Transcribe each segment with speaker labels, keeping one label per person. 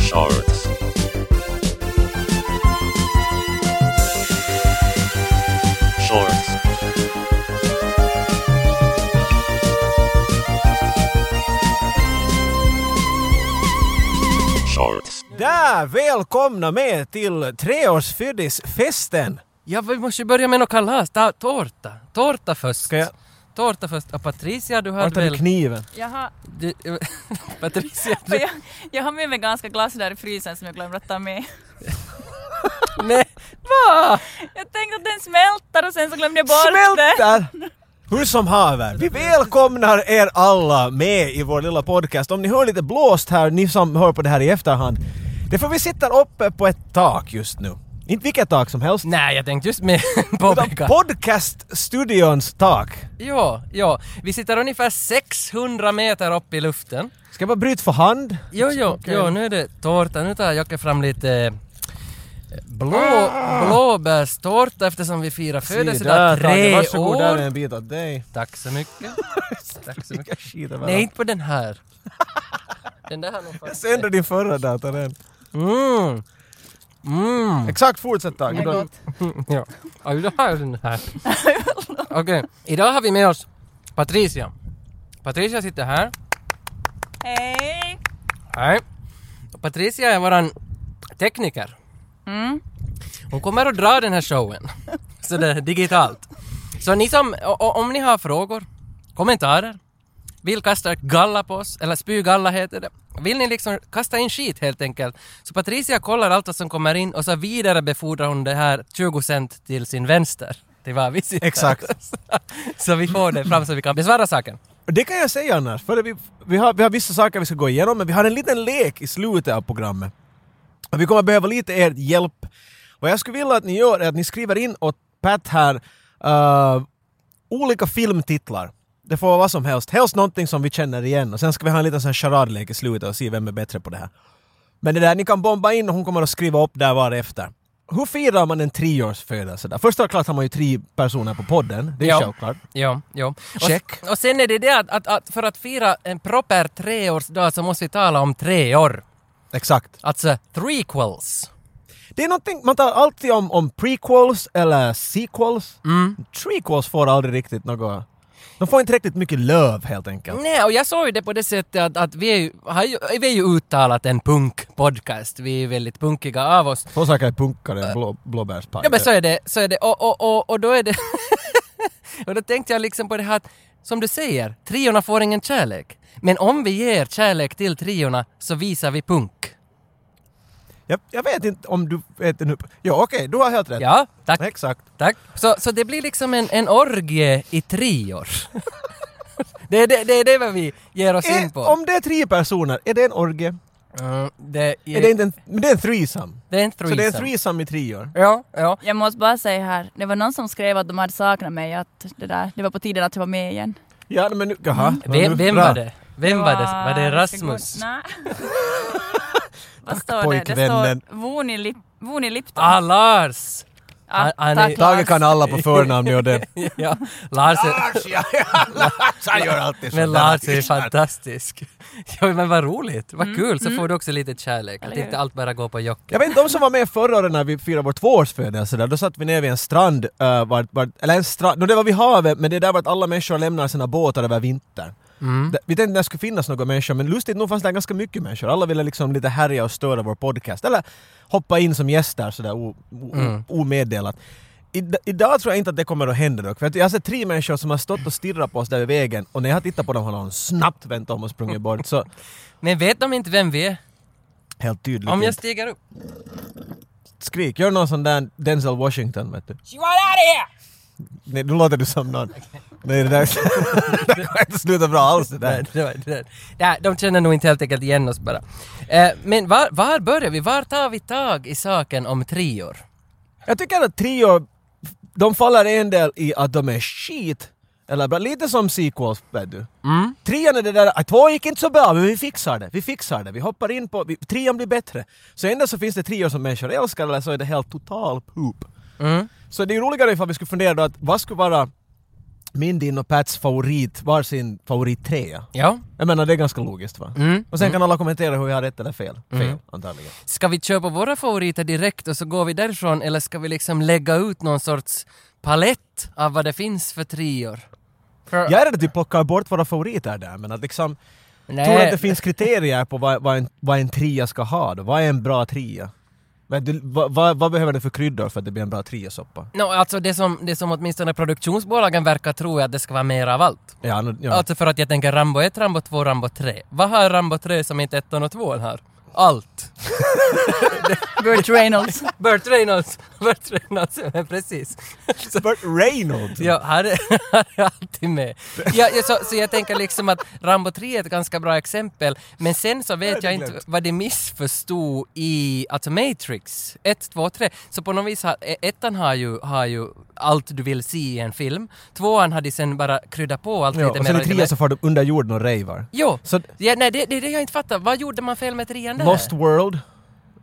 Speaker 1: charts. Shorts. Shorts.
Speaker 2: Där! Välkomna med till treårsfyrdisfesten!
Speaker 3: Ja, vi måste ju börja med något kalas. Ta, tårta. Tårta först.
Speaker 2: Ska jag-
Speaker 3: Tårta först. Och Patricia, du
Speaker 2: Vart
Speaker 3: hade
Speaker 2: är
Speaker 3: väl...
Speaker 2: du kniven?
Speaker 4: Jag har,
Speaker 3: Du, Patricia,
Speaker 4: för
Speaker 3: du...
Speaker 4: jag, jag har med mig ganska glass där i frysen som jag glömde att ta med.
Speaker 3: Nej, va?
Speaker 4: Jag tänkte att den smälter och sen så glömde jag bort den.
Speaker 2: Smälter! Hur som haver, vi välkomnar er alla med i vår lilla podcast. Om ni hör lite blåst här, ni som hör på det här i efterhand, det är för vi sitter uppe på ett tak just nu. Inte vilket tak som helst,
Speaker 3: Nej, jag tänkte just med
Speaker 2: utan
Speaker 3: påpeka.
Speaker 2: podcaststudions tak.
Speaker 3: Ja, ja. Vi sitter ungefär 600 meter upp i luften.
Speaker 2: Ska jag bara bryta för hand?
Speaker 3: Jo, jo, jo, nu är det tårta. Nu tar Jocke fram lite eh, blå, blåbärstårta eftersom vi firar födelsedag
Speaker 2: Ah! Tage,
Speaker 3: tre
Speaker 2: Varsågod, där är
Speaker 3: år.
Speaker 2: en bit åt dig.
Speaker 3: Tack så mycket. Tack så mycket.
Speaker 2: Jag skiter bara.
Speaker 3: Nej, inte på den här. Den där har nog
Speaker 2: Jag
Speaker 3: fan-
Speaker 2: sänder din förra dator än.
Speaker 3: Mm. Mm.
Speaker 2: Exakt, fortsätt Tage.
Speaker 4: Det är
Speaker 2: Då-
Speaker 4: gott.
Speaker 3: Ja. Oj, det här är den här. Okej, idag har vi med oss Patricia. Patricia sitter här.
Speaker 4: Hej!
Speaker 3: Hej. Och Patricia är våran tekniker.
Speaker 4: Mm.
Speaker 3: Hon kommer att dra den här showen. Så det är digitalt. Så ni som, o- o- om ni har frågor, kommentarer, vill kasta galla på oss, eller spygalla heter det. Vill ni liksom kasta in skit helt enkelt? Så Patricia kollar allt vad som kommer in och så vidarebefordrar hon det här 20 cent till sin vänster. Till var vi sitter.
Speaker 2: Exakt.
Speaker 3: så vi får det fram så vi kan besvara saken.
Speaker 2: Och Det kan jag säga annars, för vi, vi, har, vi har vissa saker vi ska gå igenom, men vi har en liten lek i slutet av programmet. Och vi kommer behöva lite er hjälp. Vad jag skulle vilja att ni gör är att ni skriver in åt Pat här eh, olika filmtitlar. Det får vara vad som helst, helst någonting som vi känner igen. Och sen ska vi ha en liten sån här charadlek i slutet och se vem är bättre på det här. Men det där, ni kan bomba in och hon kommer att skriva upp där varefter. Hur firar man en treårsfödelse? där? Först och klart har man ju tre personer på podden, det är
Speaker 3: Ja.
Speaker 2: självklart.
Speaker 3: Ja, ja. Och,
Speaker 2: Check.
Speaker 3: och sen är det det att, att, att för att fira en proper treårsdag så måste vi tala om tre år.
Speaker 2: Exakt.
Speaker 3: Alltså, threequels.
Speaker 2: Det är någonting, man talar alltid om, om prequels eller sequels.
Speaker 3: Mm.
Speaker 2: Trequels får aldrig riktigt något... De får inte riktigt mycket löv helt enkelt.
Speaker 3: Nej, och jag såg ju det på det sättet att, att vi, är ju, har ju, vi är ju uttalat en punkpodcast. Vi är väldigt punkiga av oss.
Speaker 2: Två saker är punkare än blå, blåbärspaj.
Speaker 3: Äh. Ja men så är det, så är det. Och, och, och, och då är det... och då tänkte jag liksom på det här att, som du säger, triorna får ingen kärlek. Men om vi ger kärlek till triorna så visar vi punk.
Speaker 2: jag, jag vet inte om du vet nu... Ja okej, du har helt rätt.
Speaker 3: Ja, tack.
Speaker 2: Exakt.
Speaker 3: Tack. Så, så det blir liksom en, en orgie i trior. det, är det, det är det vad vi ger oss in
Speaker 2: Är,
Speaker 3: på.
Speaker 2: Eh, om det är tre personer, är det en orgie?
Speaker 3: Mm, det,
Speaker 2: Är det inte en... Men det är en threesome.
Speaker 3: det är en
Speaker 2: Så det är
Speaker 3: threesome.
Speaker 2: en threesome i treor.
Speaker 3: Ja, ja.
Speaker 4: Jag måste bara säga här, det var någon som skrev att de hade saknat mig, att det, där, det var på tiden att jag var med igen.
Speaker 2: Ja men nu... Mm. Jaha.
Speaker 3: Vem, vem
Speaker 2: Bra.
Speaker 3: var det? Vem var det? Var det Rasmus?
Speaker 4: Nej. Vad står det? Det
Speaker 2: pojkvännen.
Speaker 4: står Voni Lip- Voni Lipton.
Speaker 3: Ah, Lars!
Speaker 4: Ja,
Speaker 3: han är-
Speaker 4: Ah, tack,
Speaker 2: Tage
Speaker 4: Lars.
Speaker 2: kan alla på förnamn och det.
Speaker 3: ja, Lars är,
Speaker 2: Lars, ja, ja, Lars, han gör alltid sådär.
Speaker 3: men Lars är fantastisk. Ja, men vad roligt, vad kul, så får du också lite kärlek. Att
Speaker 4: Eller hur?
Speaker 3: inte allt bara går på jock.
Speaker 2: Jag vet inte, de som var med förra året när vi firade vår tvåårsfödelse där, då satt vi ner vid en strand, eh, vart, vart, eller en strand, no, det var vid havet, men det är där vart alla människor lämnar sina båtar över vintern.
Speaker 3: Mm.
Speaker 2: Det- Vi tänkte att det skulle finnas några människor, men lustigt nog fanns det ganska mycket människor. Alla ville liksom lite härja och störa vår podcast, eller hoppa in som gäster sådär o, o,
Speaker 3: Mm.
Speaker 2: omeddelat. Ida- idag tror jag inte att det kommer att hända dock, för att jag har sett tre människor som har stått och stirrat på oss där vid vägen, och när jag har tittat på dem har de snabbt vänt om och sprungit bort, så
Speaker 3: Men vet de inte vem vi är?
Speaker 2: helt tydligt
Speaker 3: Om jag
Speaker 2: inte.
Speaker 3: stiger upp?
Speaker 2: Skrik, gör någon sån där Denzel Washington vet du.
Speaker 3: You are out of here!
Speaker 2: Nej, nu låter du som någon. Nej, det där det där kommer inte sluta bra alls det där.
Speaker 3: Nej, det var inte det. Nej, de känner nog inte helt enkelt igen oss bara. Eh, men var, var börjar vi? Var tar vi tag i saken om trior?
Speaker 2: Jag tycker att trio, de faller en del i att de är skit. Eller bra, lite som sequels, vet du. Mm. Trean är det där, att två gick inte så bra, men vi fixar det. Vi fixar det. Vi hoppar in på, vi, trean blir bättre. Så ändå så finns det trior som människor älskar, eller
Speaker 3: Mm.
Speaker 2: så är det helt total poop. Så det är ju roligare ifall vi skulle fundera då att vad skulle vara min, din och Pats favorit, varsin favorittrea.
Speaker 3: Ja.
Speaker 2: Jag menar det är ganska logiskt va?
Speaker 3: Mm.
Speaker 2: Och sen kan alla kommentera hur vi har rätt eller fel. Fel,
Speaker 3: Mm.
Speaker 2: antagligen.
Speaker 3: Ska vi köpa våra favoriter direkt och så går vi därifrån eller ska vi liksom lägga ut någon sorts palett av vad det finns för trior? För-
Speaker 2: Jag är rädd att vi plockar bort våra favoriter där, men att liksom...
Speaker 3: Nej.
Speaker 2: Tror du att det finns kriterier på vad, vad, en, vad en tria ska ha då? Vad är en bra tria? Men du, vad, vad, vad behöver det för kryddor för att det blir en bra triasoppa?
Speaker 3: No, alltså det som, det som åtminstone produktionsbolagen verkar tro är att det ska vara mer av allt.
Speaker 2: Ja, nu, ja.
Speaker 3: Alltså för att jag tänker Rambo 1, Rambo 2, Rambo 3. Vad har Rambo 3 som inte 1 och 2 har? Allt!
Speaker 4: Burt Reynolds.
Speaker 3: Burt Reynolds! Burt Reynolds, ja, precis.
Speaker 2: Burt Reynolds!
Speaker 3: Ja, här är, här är alltid med. Ja, ja, så, så jag tänker liksom att Rambo 3 är ett ganska bra exempel, men sen så vet jag inte vad det missförstod i alltså Matrix 1, 2, 3. Så på något vis, har, e- ettan har ju, har ju allt du vill se i en film, tvåan har de sen bara kryddat på allt
Speaker 2: Ja,
Speaker 3: lite
Speaker 2: och sen i
Speaker 3: mer.
Speaker 2: tria så far de under jorden och rejvar.
Speaker 3: Jo,
Speaker 2: Så
Speaker 3: ja, nej, det det är det jag inte fattar. Vad gjorde man fel med trean där?
Speaker 2: Lost World,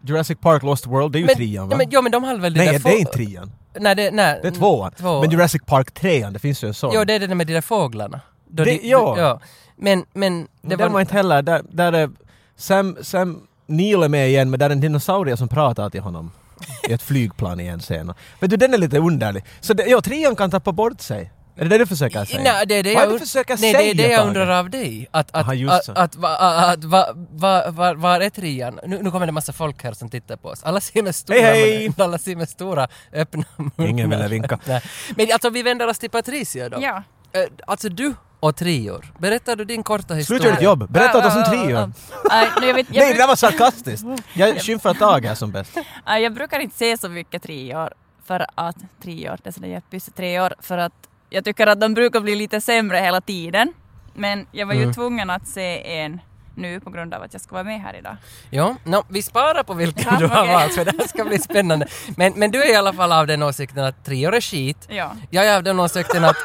Speaker 2: Jurassic Park Lost World, det är ju
Speaker 3: men,
Speaker 2: trian va?
Speaker 3: ja, men, ja, men de hade väl det
Speaker 2: nej,
Speaker 3: där
Speaker 2: det är
Speaker 3: få-
Speaker 2: inte trian.
Speaker 3: Nej, det, nej.
Speaker 2: Det är tvåan.
Speaker 3: Tvåan.
Speaker 2: Men Jurassic Park trean, det finns ju en sån.
Speaker 3: Jo, det är det där med de där fåglarna. Då
Speaker 2: Det-
Speaker 3: de-
Speaker 2: ja.
Speaker 3: Men, men...
Speaker 2: det var... inte heller, där, där är Sam, Sam Neill är med igen men där är en dinosaurie som pratar till honom. I ett flygplan igen senare. Men du den är lite underlig. Så det, ja, trean kan tappa bort sig. Är det det du försöker säga?
Speaker 3: Nej, det är det
Speaker 2: Vad
Speaker 3: jag,
Speaker 2: är det du
Speaker 3: und-
Speaker 2: försöker
Speaker 3: nej,
Speaker 2: säga?
Speaker 3: det, är det jag
Speaker 2: Tage?
Speaker 3: undrar av dig. Att, att,
Speaker 2: Aha, just
Speaker 3: att,
Speaker 2: så.
Speaker 3: att, va- att, va- va- var, var är trean? Nu, nu kommer det en massa folk här som tittar på oss. Alla ser med stora,
Speaker 2: Hej, hej!
Speaker 3: mun- Alla ser med stora öppna munnar.
Speaker 2: Ingen ville vinka.
Speaker 3: Nej. Men alltså vi vänder oss till Patricia då.
Speaker 4: Ja.
Speaker 3: Eh, Alltså du och trior. Berättar du din korta historia?
Speaker 2: Sluta ditt jobb! Berätta åt oss om trean!
Speaker 4: Nej, Äh, nu, jag, vet, jag,
Speaker 2: Nej, det där
Speaker 4: bruk,
Speaker 2: var sarkastiskt! Jag skymfar Tage här som bäst.
Speaker 4: nej, jag brukar inte se så mycket treor för att treor, det är sådär jättepussigt treor för att jag tycker att de brukar bli lite sämre hela tiden. Men jag var ju
Speaker 3: Mm.
Speaker 4: tvungen att se en nu på grund av att jag ska vara med här idag.
Speaker 3: Ja, no, vi sparar på vilken
Speaker 4: Ja,
Speaker 3: du har
Speaker 4: okej.
Speaker 3: valt för det här ska bli spännande. Men, men du är i alla fall av den åsikten att treor är skit.
Speaker 4: Ja.
Speaker 3: Jag är av den åsikten att,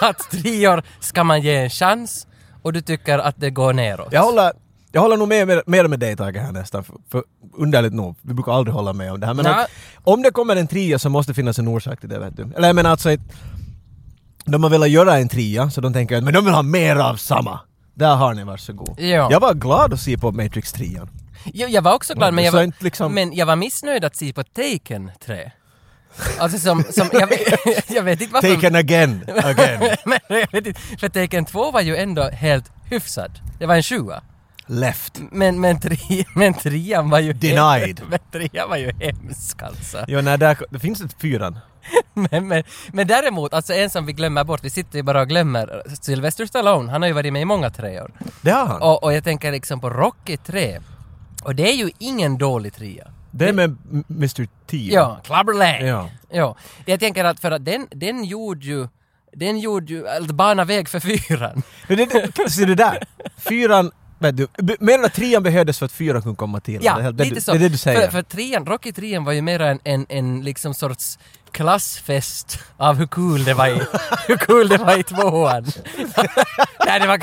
Speaker 3: att trior ska man ge en chans och du tycker att det går neråt.
Speaker 2: Jag håller, jag håller nog med, med, mer med dig Tage här nästan, för, för underligt nog, vi brukar aldrig hålla med om det här. Men
Speaker 3: Nej.
Speaker 2: att, om det kommer en tria så måste det finnas en orsak till det vet du. Eller jag menar alltså, ett- de har velat göra en tria så de tänker att men de vill ha mer av samma. Där har ni, varsågod.
Speaker 3: Ja.
Speaker 2: Jag var glad att se på Matrix 3.
Speaker 3: Jag, jag var också glad,
Speaker 2: Ja,
Speaker 3: men, jag
Speaker 2: så
Speaker 3: var,
Speaker 2: inte liksom-
Speaker 3: men jag var missnöjd att se på Taken 3. Alltså som, som jag, vet- jag vet inte varför.
Speaker 2: Taken again, again.
Speaker 3: Men jag vet inte, för Taken 2 var ju ändå helt hyfsad. Det var en sjua.
Speaker 2: Left.
Speaker 3: Men, men, tre, men trean var ju...
Speaker 2: Denied.
Speaker 3: Hem, men trean var ju hemsk alltså.
Speaker 2: Jo, nej, där, det finns ett fyran.
Speaker 3: Men, men, men däremot, alltså en som vi glömmer bort, vi sitter ju bara och glömmer Sylvester Stallone, han har ju varit med i många treor.
Speaker 2: Det har han.
Speaker 3: Och, och jag tänker liksom på Rocky 3. Och det är ju ingen dålig trea.
Speaker 2: det är med Mr. T.
Speaker 3: Ja, Clubberland.
Speaker 2: Ja.
Speaker 3: ja. Det Jag tänker att för att den, den gjorde ju, den gjorde ju, eller bana väg för fyran.
Speaker 2: Men det- det- Ser du där? Fyran, vet du, b- menar att trean behövdes för att fyran kunde komma till?
Speaker 3: Ja,
Speaker 2: det, är helt- det,
Speaker 3: lite
Speaker 2: du-
Speaker 3: så.
Speaker 2: Det är det du säger.
Speaker 3: För, för trean, Rocky 3 var ju mera en, en, en liksom sorts klassfest av hur kul det var i, hur kul det var i tvåan. Nej, det var...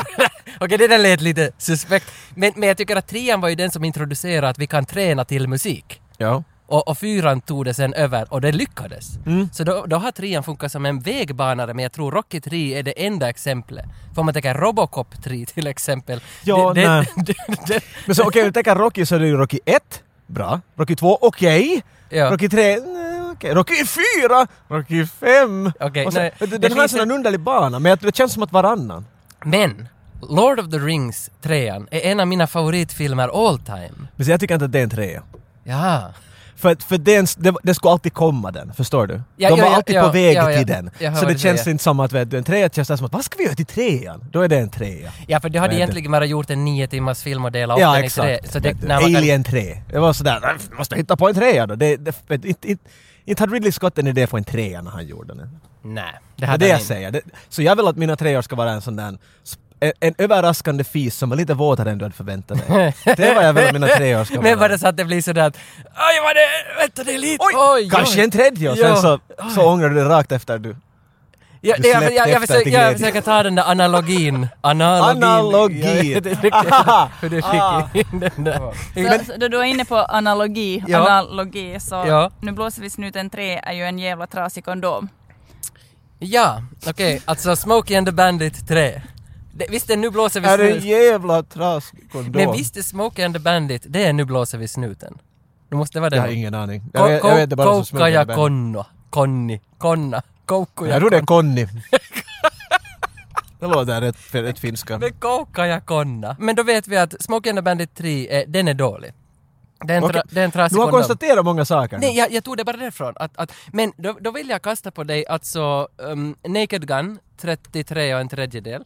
Speaker 3: Okej, det där lät lite suspekt. Men, men jag tycker att trean var ju den som introducerade att vi kan träna till musik.
Speaker 2: Ja.
Speaker 3: Och, och fyran tog det sen över och det lyckades.
Speaker 2: Mm.
Speaker 3: Så då, då har trean funkat som en vägbanare men jag tror Rocky 3 är det enda exemplet. För om man tänker Robocop 3 till exempel.
Speaker 2: Ja,
Speaker 3: det,
Speaker 2: nej.
Speaker 3: Det, det, det,
Speaker 2: Men så okej, om du tänker Rocky så är det ju Rocky 1, bra. Rocky 2, okej.
Speaker 3: Ja.
Speaker 2: Rocky 3, nej, okej. Rocky 4, Rocky 5.
Speaker 3: Okej,
Speaker 2: Och så-
Speaker 3: nej,
Speaker 2: vet du,
Speaker 3: det
Speaker 2: den har en
Speaker 3: finns
Speaker 2: sån här underlig bana, men jag- det känns som att varannan.
Speaker 3: Men Lord of the Rings 3 är en av mina favoritfilmer all time.
Speaker 2: Men så jag tycker inte att det är en trea.
Speaker 3: Ja.
Speaker 2: För, att- för det, är en s- det, det skulle alltid komma den, förstår du?
Speaker 3: Ja,
Speaker 2: De
Speaker 3: ja,
Speaker 2: var
Speaker 3: ja,
Speaker 2: alltid
Speaker 3: ja,
Speaker 2: på väg
Speaker 3: ja, ja.
Speaker 2: till den.
Speaker 3: Jag hör
Speaker 2: så
Speaker 3: vad
Speaker 2: det
Speaker 3: du
Speaker 2: känns
Speaker 3: säger.
Speaker 2: inte som att vet du, en trea känns där som att vad ska vi göra till trean? Då är det en trea.
Speaker 3: ja, för du hade
Speaker 2: Vet du.
Speaker 3: egentligen bara gjort en nio timmars film och delat upp
Speaker 2: Ja,
Speaker 3: den i
Speaker 2: exakt.
Speaker 3: tre. Så det,
Speaker 2: Vet du,
Speaker 3: när man kan,
Speaker 2: Alien 3. Det var sådär, "Äh, måste jag hitta på en trea då? Det, det, vet du, inte, inte, inte hade Ridley Scott en idé på en trea när han gjorde den.
Speaker 3: nej, det
Speaker 2: Det är det
Speaker 3: hade han
Speaker 2: jag
Speaker 3: inte.
Speaker 2: säger. Det, så jag vill att mina treor ska vara en sån där en, en överraskande fis som är lite våtare än du hade förväntat dig. Det är vad jag vill att mina treor ska vara.
Speaker 3: Men var det så att det blir sådär att oj vad det, vänta det är lite, oj, oj
Speaker 2: Kanske en tredje och sen
Speaker 3: Ja.
Speaker 2: så, så ångrar du det rakt efter du...
Speaker 3: Ja,
Speaker 2: Du
Speaker 3: det- jag,
Speaker 2: släppte
Speaker 3: jag, jag,
Speaker 2: efter
Speaker 3: försöker,
Speaker 2: till
Speaker 3: jag
Speaker 2: glädje.
Speaker 3: försöker ta den där analogin. Analogin.
Speaker 2: Analogi!
Speaker 3: Ja, det tycker jag.
Speaker 2: Ahaha.
Speaker 3: Hur du
Speaker 2: Ah.
Speaker 3: fick in den där.
Speaker 4: Så, så då du är inne på analogi,
Speaker 3: Ja.
Speaker 4: analogi så
Speaker 3: Ja.
Speaker 4: nu blåser vi snuten tre är ju en jävla trasig kondom.
Speaker 3: Ja, okej, alltså Smokey and the Bandit 3. Det, visst är Nu blåser vi
Speaker 2: Är det en
Speaker 3: snuten?
Speaker 2: jävla trasig kondom?
Speaker 3: Men visst är Smokey and the Bandit, det är Nu blåser vi snuten? Det måste vara det.
Speaker 2: Jag har ingen aning. Jag vet, jag vet det bara som
Speaker 3: Koukka
Speaker 2: smörjer
Speaker 3: ja
Speaker 2: den.
Speaker 3: konno. Konni. Konna. Koukku ja
Speaker 2: Jag tror det är Conny. Det låter rätt, rätt finska.
Speaker 3: Men koukka ja konna. Men då vet vi att Smokey and the Bandit 3, eh, den är dålig. Det är en, tra-
Speaker 2: Okej.
Speaker 3: det är en trasig
Speaker 2: Du har
Speaker 3: kondom.
Speaker 2: konstaterat många saker.
Speaker 3: Nej, jag, jag tog det bara därifrån. Att, att, men då, då vill jag kasta på dig alltså um, Naked Gun, 33 och en tredjedel.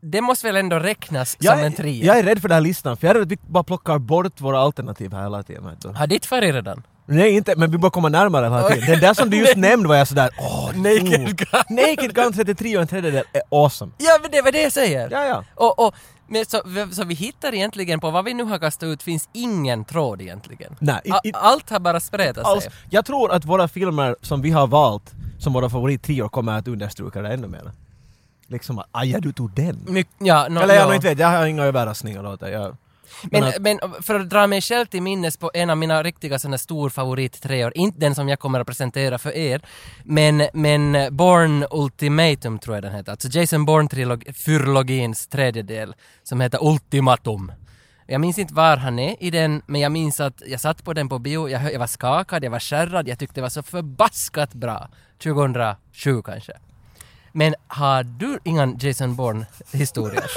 Speaker 3: Det måste väl ändå räknas
Speaker 2: jag,
Speaker 3: som en
Speaker 2: är-
Speaker 3: trea?
Speaker 2: jag är rädd för den här listan, för jag är rädd att vi bara plockar bort våra alternativ här hela tiden. vet du.
Speaker 3: Har ditt färg redan?
Speaker 2: Nej, inte, men vi bara kommer närmare hela tiden. Den där som du just nämnde var jag sådär åh,
Speaker 3: Naked Gun.
Speaker 2: Naked Gun 33 och en tredjedel är awesome.
Speaker 3: Ja, men det var det jag säger!
Speaker 2: Ja, ja.
Speaker 3: Och, och, men så, v- så vi hittar egentligen på vad vi nu har kastat ut finns ingen tråd egentligen.
Speaker 2: Nej, i-
Speaker 3: A-
Speaker 2: i-
Speaker 3: allt har bara spretat
Speaker 2: Alls,
Speaker 3: sig.
Speaker 2: Alltså, jag tror att våra filmer som vi har valt som våra favorittrior kommer att understryka det ännu mer. Liksom att aja du tog den.
Speaker 3: My, ja, Mm, nå-
Speaker 2: Eller
Speaker 3: ja.
Speaker 2: jag inte vet, jag har inga överraskningar åt det. Jag, men,
Speaker 3: Men,
Speaker 2: att,
Speaker 3: men eh, för att dra mig själv till minnes på en av mina riktiga sådana stor favorit treor, inte den som jag kommer att presentera för er, men, men eh, Born Ultimatum tror jag den heter, alltså Jason Bourne-fyrlogins tredje del, som heter Ultimatum. Jag minns inte var han är i den, men jag minns att jag satt på den på bio, jag, hö- jag var skakad, jag var skärrad, jag tyckte det var så förbaskat bra. 2007 kanske. Men har du inga Jason Bourne-historier?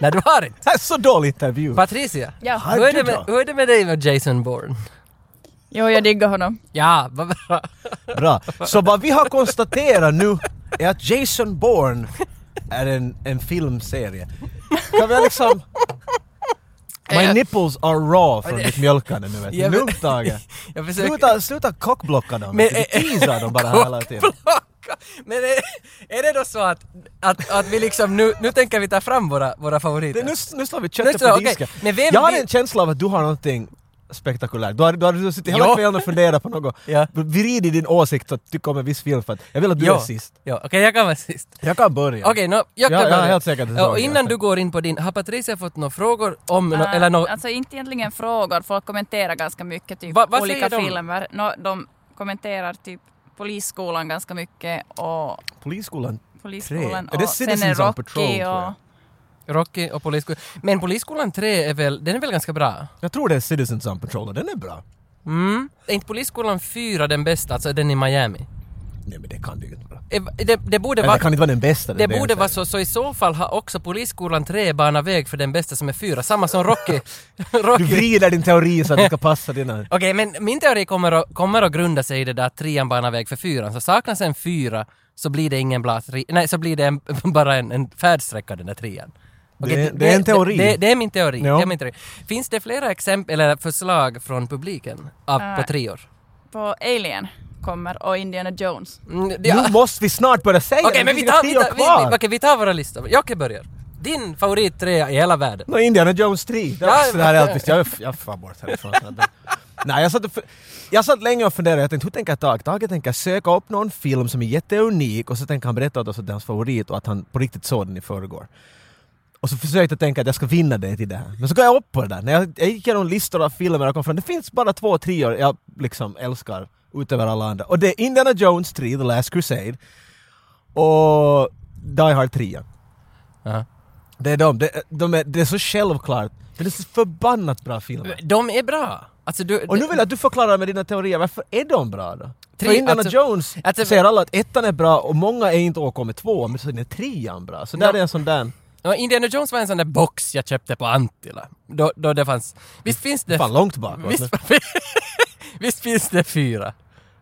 Speaker 3: Nej, du har inte.
Speaker 2: det här är så dålig intervju.
Speaker 3: Patricia,
Speaker 4: Ja.
Speaker 2: Har
Speaker 3: hur, är
Speaker 2: du
Speaker 3: det med,
Speaker 2: då?
Speaker 3: hur är det med dig med Jason Bourne?
Speaker 4: Jo, jag diggar honom.
Speaker 3: Ja, vad bra.
Speaker 2: Bra. Så vad vi har konstaterat nu är att Jason Bourne är en, en filmserie. Kan vi liksom... My
Speaker 3: Eh.
Speaker 2: nipples are raw från ditt mjölkande nu vet
Speaker 3: Ja,
Speaker 2: du.
Speaker 3: men-
Speaker 2: Lugnt Tage.
Speaker 3: Jag försöker...
Speaker 2: Sluta, sluta kockblocka dem.
Speaker 3: Men-
Speaker 2: Du teasar dem bara hela tiden.
Speaker 3: Kockblocka. Men är, är det då så att, att, att vi liksom nu, nu tänker vi ta fram våra, våra favoriter?
Speaker 2: Det, nu, nu slår vi
Speaker 3: Nu
Speaker 2: köttet
Speaker 3: slår-
Speaker 2: på
Speaker 3: okej.
Speaker 2: disken.
Speaker 3: Men vem
Speaker 2: jag har
Speaker 3: vill-
Speaker 2: en känsla av att du har någonting spektakulärt. Du har, du har, du har suttit hela
Speaker 3: Ja.
Speaker 2: kvällen och funderat på något.
Speaker 3: Ja.
Speaker 2: Vrid i din åsikt att tycka om en viss film för att jag vill att du är sist.
Speaker 3: Ja, okej jag kan vara sist.
Speaker 2: Jag kan börja.
Speaker 3: Okej, nå, jag kan
Speaker 2: Ja, jag är
Speaker 3: börja.
Speaker 2: helt säker att det är så.
Speaker 3: Och innan du går in på din, har Patricia fått några frågor om, nå-
Speaker 4: Äh,
Speaker 3: eller nå,
Speaker 4: Alltså inte egentligen frågor, folk kommenterar ganska mycket typ
Speaker 3: Va- vad
Speaker 4: olika
Speaker 3: säger de?
Speaker 4: filmer. No, de kommenterar typ Polisskolan ganska mycket och
Speaker 2: Polisskolan
Speaker 4: Polisskolan
Speaker 2: Är det
Speaker 4: och sen är
Speaker 2: Citizens on
Speaker 4: Rocky
Speaker 2: Patrol, tror jag?
Speaker 4: och...
Speaker 3: Rocky och Polisskolan? Men Polisskolan 3 är väl, den är väl ganska bra?
Speaker 2: Jag tror det är Citizens on Patrol och den är bra.
Speaker 3: Mm. Är inte Polisskolan 4 den bästa, alltså den i Miami?
Speaker 2: Nej men det kan det ju inte vara.
Speaker 3: Eh, Det, det borde
Speaker 2: Eller
Speaker 3: vara...
Speaker 2: det kan inte vara den bästa.
Speaker 3: Det
Speaker 2: är
Speaker 3: borde
Speaker 2: jag
Speaker 3: vara
Speaker 2: säger.
Speaker 3: så, så i så fall har också Polisskolan 3 banat väg för den bästa som är fyra, samma som Rocky. Rocky.
Speaker 2: Du
Speaker 3: Okej,
Speaker 2: vrider din teori så att det ska passa dina...
Speaker 3: men min teori kommer att, kommer att grunda sig i det där att trean banar väg för fyran, så saknas en fyra så blir det ingen bra tre, nej så blir det en, bara en, en färdsträcka den där trean. Okej,
Speaker 2: Det- det är en teori.
Speaker 3: Det, det är min teori.
Speaker 2: Ja.
Speaker 3: Det är min teori. Finns det flera exempel eller förslag från publiken av, på
Speaker 4: Äh.
Speaker 3: treor?
Speaker 4: På Alien kommer och Indiana Jones.
Speaker 3: Mm, det-
Speaker 2: Nu måste vi snart börja säga
Speaker 3: Okej,
Speaker 2: det,
Speaker 3: men
Speaker 2: det
Speaker 3: vi
Speaker 2: finns
Speaker 3: tar, vi,
Speaker 2: inga
Speaker 3: tar,
Speaker 2: friår kvar.
Speaker 3: vi, vi, okej, vi tar våra listor. Jocke börjar. Din favorittrea i hela världen.
Speaker 2: Nå, Indiana Jones 3. Det
Speaker 3: Ja,
Speaker 2: var- så där är allt visst. Jag, jag far bort härifrån. Nej, jag satt, och fu- jag satt länge och funderade. Jag tänkte, hur tänker Tage? Tage tänker söka upp någon film som är jätteunik och så tänker han berätta åt oss att det är hans favorit och att han på riktigt såg den i förrgår. Och så försökte jag tänka att jag ska vinna dig till det här. Men så går jag upp på det där. När jag, jag gick igenom listor av filmer och kom fram det finns bara två treor jag liksom älskar utöver alla andra. Och det är Indiana Jones 3, The Last Crusade och Die Hard 3.
Speaker 3: Ja.
Speaker 2: Det är de. Det, de är, det är så självklart. Men det är så förbannat bra filmer.
Speaker 3: De är bra. Alltså du...
Speaker 2: Och nu vill jag att du förklarar med dina teorier, varför är de bra då?
Speaker 3: Tre-
Speaker 2: För Indiana
Speaker 3: alltså-
Speaker 2: Jones
Speaker 3: alltså-
Speaker 2: säger alla att ettan är bra och många är inte åkommit två men sen är trean bra. Så där
Speaker 3: Ja.
Speaker 2: är en sån där...
Speaker 3: Ja, Indiana Jones var en sån där box jag köpte på Antilla. Då, då det fanns... Visst finns det...
Speaker 2: Fan, långt bakåt.
Speaker 3: visst, visst finns det fyra?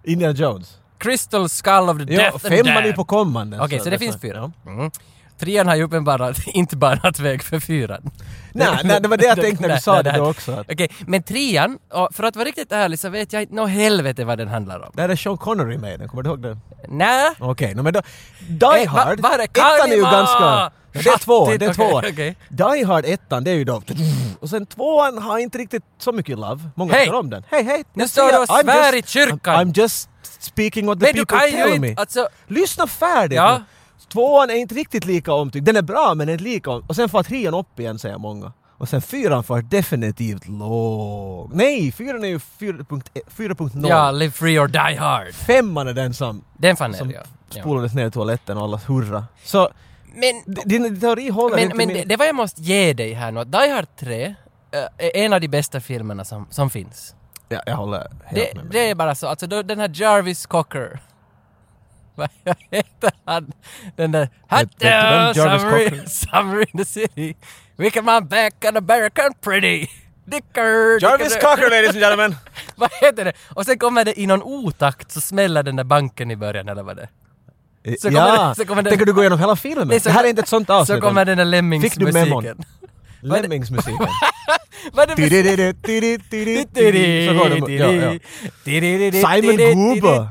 Speaker 2: Indiana Jones.
Speaker 3: Crystal Skull of the
Speaker 2: Ja,
Speaker 3: Death and
Speaker 2: femman
Speaker 3: Damned.
Speaker 2: är på kommande.
Speaker 3: Okej, så det finns fyra. Mm. Trean har ju uppenbarat inte banat väg för fyran.
Speaker 2: Nej, nej, det var det jag tänkte när du
Speaker 3: Nej,
Speaker 2: sa
Speaker 3: nej,
Speaker 2: det
Speaker 3: nej.
Speaker 2: då också. Att,
Speaker 3: Okej, men trean, och för att vara riktigt ärlig så vet jag inte nå helvete vad den handlar om.
Speaker 2: där är Sean Connery med i den, kommer du ihåg det?
Speaker 3: Nä?
Speaker 2: Okej, no, men då...
Speaker 3: Eh,
Speaker 2: Die
Speaker 3: va-
Speaker 2: Hard,
Speaker 3: var är
Speaker 2: ettan är ju
Speaker 3: Karima?
Speaker 2: ganska... Ja, Det är två, det är
Speaker 3: Okej,
Speaker 2: två.
Speaker 3: okej.
Speaker 2: Die Hard ettan, det är ju då... Och sen tvåan har inte riktigt så mycket love. Många
Speaker 3: Hej!
Speaker 2: tycker om den. Hej, hej!
Speaker 3: Nu
Speaker 2: jag
Speaker 3: står du och
Speaker 2: säger, I'm
Speaker 3: svär
Speaker 2: just-
Speaker 3: i kyrkan.
Speaker 2: I'm, I'm just speaking what the
Speaker 3: Men du
Speaker 2: people
Speaker 3: kan ju
Speaker 2: tell me.
Speaker 3: inte... Alltså,
Speaker 2: Lyssna färdigt!
Speaker 3: Ja.
Speaker 2: nu. Tvåan är inte riktigt lika omtyckt. Den är bra men inte lika om... Och sen får trean upp igen säger många. Och sen fyran får definitivt låg. Nej, fyran är ju 4.1 4.0.
Speaker 3: Ja, Live Free or Die Hard.
Speaker 2: Femman är den som
Speaker 3: Den fann
Speaker 2: Som
Speaker 3: jag. ja. Ja.
Speaker 2: spolades ner i toaletten och alla hurra. Så
Speaker 3: Men,
Speaker 2: d- din din teori håller
Speaker 3: men,
Speaker 2: inte.
Speaker 3: men
Speaker 2: min-
Speaker 3: det, det var jag måste ge dig här nu, att Die Hard 3 eh, är en av de bästa filmerna som, som finns.
Speaker 2: ja, jag håller helt
Speaker 3: Det,
Speaker 2: med. mig.
Speaker 3: det är bara så, alltså då, den här Jarvis Cocker. Vad heter han? Den där...
Speaker 2: Vet- vet du vem Jarvis Cocker är?
Speaker 3: Summer, summer in the city. We come on back on American pretty. Dicker!
Speaker 2: Jarvis
Speaker 3: dicker-
Speaker 2: Cocker ladies and gentlemen!
Speaker 3: Vad heter det? Och sen kommer det i någon otakt så smäller den där banken i början eller vad det är. Så kommer
Speaker 2: ja.
Speaker 3: det- så kommer det-
Speaker 2: Tänker du gå igenom hela filmen?
Speaker 3: Nej, så-
Speaker 2: det här är inte ett sånt avsnitt.
Speaker 3: Så kommer den där
Speaker 2: Fick du
Speaker 3: Lemmings-musiken.
Speaker 2: memon? Lemmingsmusiken.
Speaker 3: Vad är det för-
Speaker 2: Tidididi, tidididi, tidididi. Så går de... Ja, ja.
Speaker 3: Simon
Speaker 2: Simon Gruber.
Speaker 3: Goober.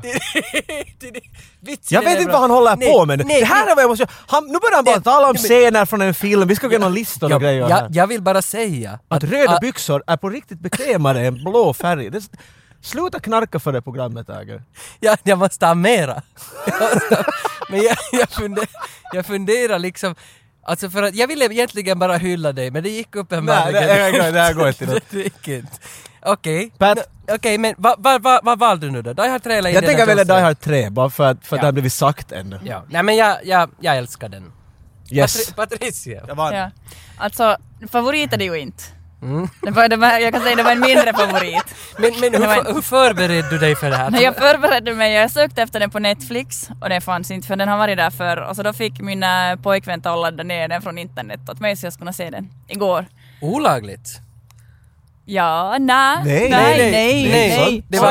Speaker 2: Jag vet inte vad han håller på med nu. Det här är vad jag måste göra. Han, nu börjar han bara
Speaker 3: Nej,
Speaker 2: tala om
Speaker 3: nej, men-
Speaker 2: scener från en film. Vi ska gå igenom listor och
Speaker 3: jag,
Speaker 2: grejer
Speaker 3: jag,
Speaker 2: här.
Speaker 3: jag vill bara säga
Speaker 2: Att röda
Speaker 3: att-
Speaker 2: byxor är på riktigt bekvämare än blå färg. Det, sluta knarka för det programmet, Äger.
Speaker 3: jag, jag måste ha mera. Jag måste ha- Men jag, jag, funder, jag funderar liksom, alltså för att jag ville egentligen bara hylla dig men det gick
Speaker 2: Nej,
Speaker 3: uppenbarligen
Speaker 2: det, det, här går- det här går inte.
Speaker 3: Det gick inte. Okej,
Speaker 2: Pat-
Speaker 3: Nå, okej men vad va, va, vad valde du nu då? Die Hard 3 eller
Speaker 2: Jag
Speaker 3: Indiana
Speaker 2: tänker välja
Speaker 3: Jones?
Speaker 2: Die Hard 3, bara för att, för att
Speaker 3: Ja.
Speaker 2: det har blivit sagt ännu.
Speaker 3: Ja, nej men jag, jag, jag älskar den.
Speaker 2: Yes.
Speaker 3: Patri- Patricia.
Speaker 2: Jag vann.
Speaker 4: Ja. Alltså, favorit är det ju inte. Det var, det var, jag kan säga det var en mindre favorit.
Speaker 3: Men, men hur,
Speaker 4: Det var en-
Speaker 3: för- hur förberedde du dig för det här?
Speaker 4: När jag förberedde mig, jag sökte efter den på Netflix och den fanns inte för den har varit där förr. Och så då fick min äh, pojkvän ta och ladda ner den från internet åt mig så jag skulle kunna se den igår.
Speaker 3: Olagligt?
Speaker 4: Ja, nej,
Speaker 2: Nej,
Speaker 3: nej,
Speaker 4: nej,
Speaker 3: nej,
Speaker 4: nej.
Speaker 2: sånt-
Speaker 3: Det var-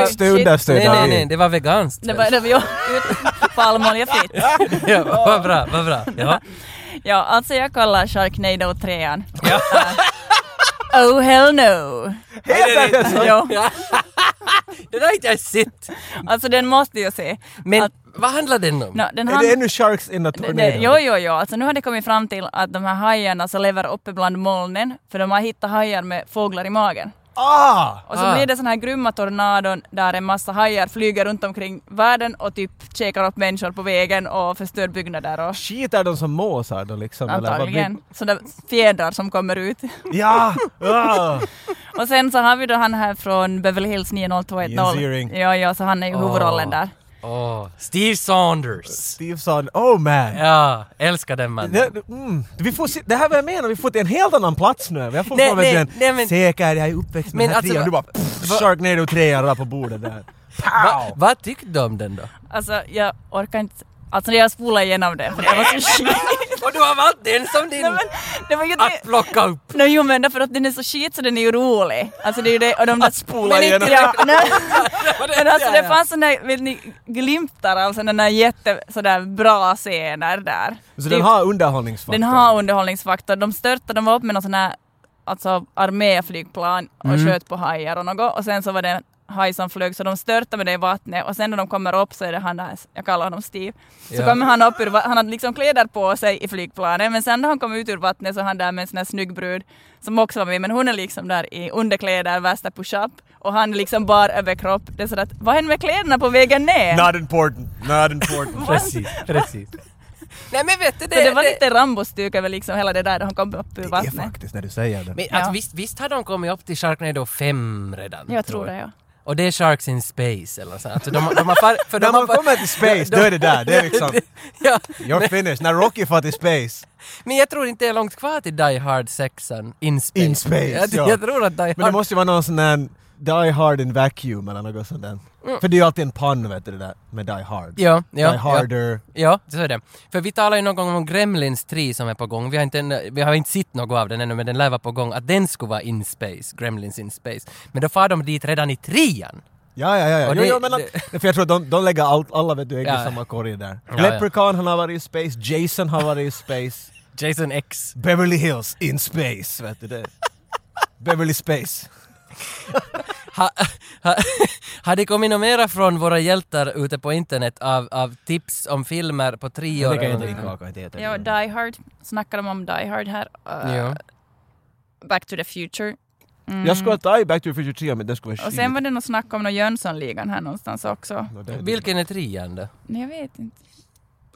Speaker 2: sånt stöd
Speaker 3: Nej, nej,
Speaker 2: där.
Speaker 3: nej, det var veganskt.
Speaker 4: Det var, det var, ja, ut- palmolja fritt.
Speaker 3: ja, vad bra, vad bra. Ja.
Speaker 4: Ja, alltså jag kollar Sharknado 3 ja. Oh hell no!
Speaker 2: Helt ärligt!
Speaker 4: Ja,
Speaker 3: Det där har inte jag sett.
Speaker 4: alltså den måste jag se.
Speaker 3: Men
Speaker 4: Att-
Speaker 3: vad handlar den om?
Speaker 4: No, den
Speaker 2: Är
Speaker 4: hand-
Speaker 2: det ännu Sharks in the
Speaker 4: Det- det-
Speaker 2: Tornado?
Speaker 4: Jo, jo, jo. Alltså nu har det kommit fram till att de här hajarna som lever uppe bland molnen, för de har hittat hajar med fåglar i magen.
Speaker 2: Ah!
Speaker 4: Och så
Speaker 3: Ah.
Speaker 4: blir det sån här grymma tornadon där en massa hajar flyger runt omkring världen och typ käkar upp människor på vägen och förstör byggnader och
Speaker 2: Skitar de som måsar då liksom? eller vad blir-
Speaker 4: antagligen sådana fjädrar som kommer ut.
Speaker 2: Ja! Ah.
Speaker 4: Och sen så har vi då han här från Beverly Hills
Speaker 2: Jens
Speaker 4: 90210.
Speaker 2: Earing.
Speaker 4: Ja, ja, så han är ju
Speaker 3: Åh.
Speaker 4: huvudrollen där.
Speaker 3: Ah. Åh, Steve Saunders.
Speaker 2: Steve sa oh man!
Speaker 3: Ja, älskar den
Speaker 2: Det,
Speaker 3: mannen.
Speaker 2: mm, vi får se, det här är vad jag menar, vi får till en helt annan plats nu. Jag får nej,
Speaker 3: Nej,
Speaker 2: nej,
Speaker 3: nej,
Speaker 2: den,
Speaker 3: nej, men-
Speaker 2: säker, jag är uppväxt med
Speaker 3: Men
Speaker 2: den här
Speaker 3: alltså,
Speaker 2: trean. Du bara
Speaker 3: va-
Speaker 2: pff, Sharknado 3 där på bordet där.
Speaker 3: Va,
Speaker 2: Pow!
Speaker 3: vad tyckte du om den då?
Speaker 4: Alltså jag orkar inte, alltså jag spolar igenom det för det var så skit.
Speaker 3: Och du har valt den som din
Speaker 4: Nej, men, det var ju
Speaker 3: att
Speaker 4: det.
Speaker 3: plocka upp.
Speaker 4: No, jo men därför att den är så skit så den är ju rolig. Alltså det är ju det och de där
Speaker 2: spola
Speaker 4: Men
Speaker 2: igenom.
Speaker 4: inte- Ja, nej.
Speaker 3: Vad
Speaker 4: Men alltså
Speaker 3: ja,
Speaker 4: det
Speaker 3: ja.
Speaker 4: fanns sådana, vet ni, glimtar av sådana jätte, sådär bra scener där.
Speaker 2: Så
Speaker 4: Typ-
Speaker 2: den har underhållningsfaktor.
Speaker 4: den har underhållningsfaktor. De störtade, de var upp med någon sån här alltså arméflygplan och sköt på hajar och något och sen så var det en haj som flög så de störtade med det i vattnet och sen när de kommer upp så är det han där, jag kallar honom Steve, så
Speaker 3: Ja.
Speaker 4: kommer han upp ur va- han hade liksom kläder på sig i flygplanet men sen när han kom ut ur vattnet så är han där med en sån här snygg brud som också var med men hon är liksom där i underkläder, värsta push-up och han är liksom bar överkropp. Det är sådär att vad händer med kläderna på vägen ner?
Speaker 2: Not important, not important.
Speaker 3: Precis, precis. Nej men vet du, det,
Speaker 4: så det var
Speaker 3: det-
Speaker 4: lite Rambo-stuk över liksom hela det där när han kom upp ur
Speaker 2: det är
Speaker 4: vattnet.
Speaker 2: faktiskt när du säger det.
Speaker 3: Men alltså,
Speaker 4: Ja.
Speaker 3: visst, visst har de kommit upp till Sharknado 5 redan?
Speaker 4: Jag tror det ja.
Speaker 3: Och det är Sharks in Space eller så. Alltså, de, de har far, för de
Speaker 2: När
Speaker 3: har
Speaker 2: man
Speaker 3: far-
Speaker 2: kommer till space, då är det där. Det är liksom,
Speaker 3: ja,
Speaker 2: you're finished. När Rocky far till space.
Speaker 3: men jag tror inte det är långt kvar till Die Hard 6 in Space.
Speaker 2: In Space,
Speaker 3: jag,
Speaker 2: ja.
Speaker 3: jag tror att Die Hard...
Speaker 2: Men det måste ju vara någon sån där Die Hard in Vacuum eller något sånt där. För det är ju alltid en pann vet du det där med Die Hard.
Speaker 3: Mm. Ja, ja,
Speaker 2: die Harder.
Speaker 3: Ja, så är det. För vi talade ju någon gång om Gremlins 3 som är på gång. Vi har inte, en- vi har inte sett något av den ännu, men den lär vara på gång. Att den skulle vara in space, Gremlins in space. Men då far de dit redan i trean.
Speaker 2: Ja, ja, ja. ja.
Speaker 3: Och
Speaker 2: Jo,
Speaker 3: det-
Speaker 2: jo, men att, för jag tror att de, de lägger allt, alla vet du, ägg
Speaker 3: Ja.
Speaker 2: i samma korg där.
Speaker 3: ja.
Speaker 2: Leprechaun, han har varit i space. Jason har varit i space.
Speaker 3: Jason X.
Speaker 2: Beverly Hills in space, vet du det. Beverly Space.
Speaker 3: Ha, ha, har det kommit något mera från våra hjältar ute på internet av, av tips om filmer på tre år? eller någonting?
Speaker 4: Ja, mm. Die Hard. Snackar de om Die Hard här? Uh,
Speaker 3: Ja.
Speaker 4: Back to the Future.
Speaker 2: Jag skulle ta i Back to the Future 3 men det skulle vara
Speaker 4: Och sen var det nog snack om någon Jönssonligan här någonstans också.
Speaker 2: skit. Och det-
Speaker 3: Vilken är trean då?
Speaker 4: Nej, jag vet inte.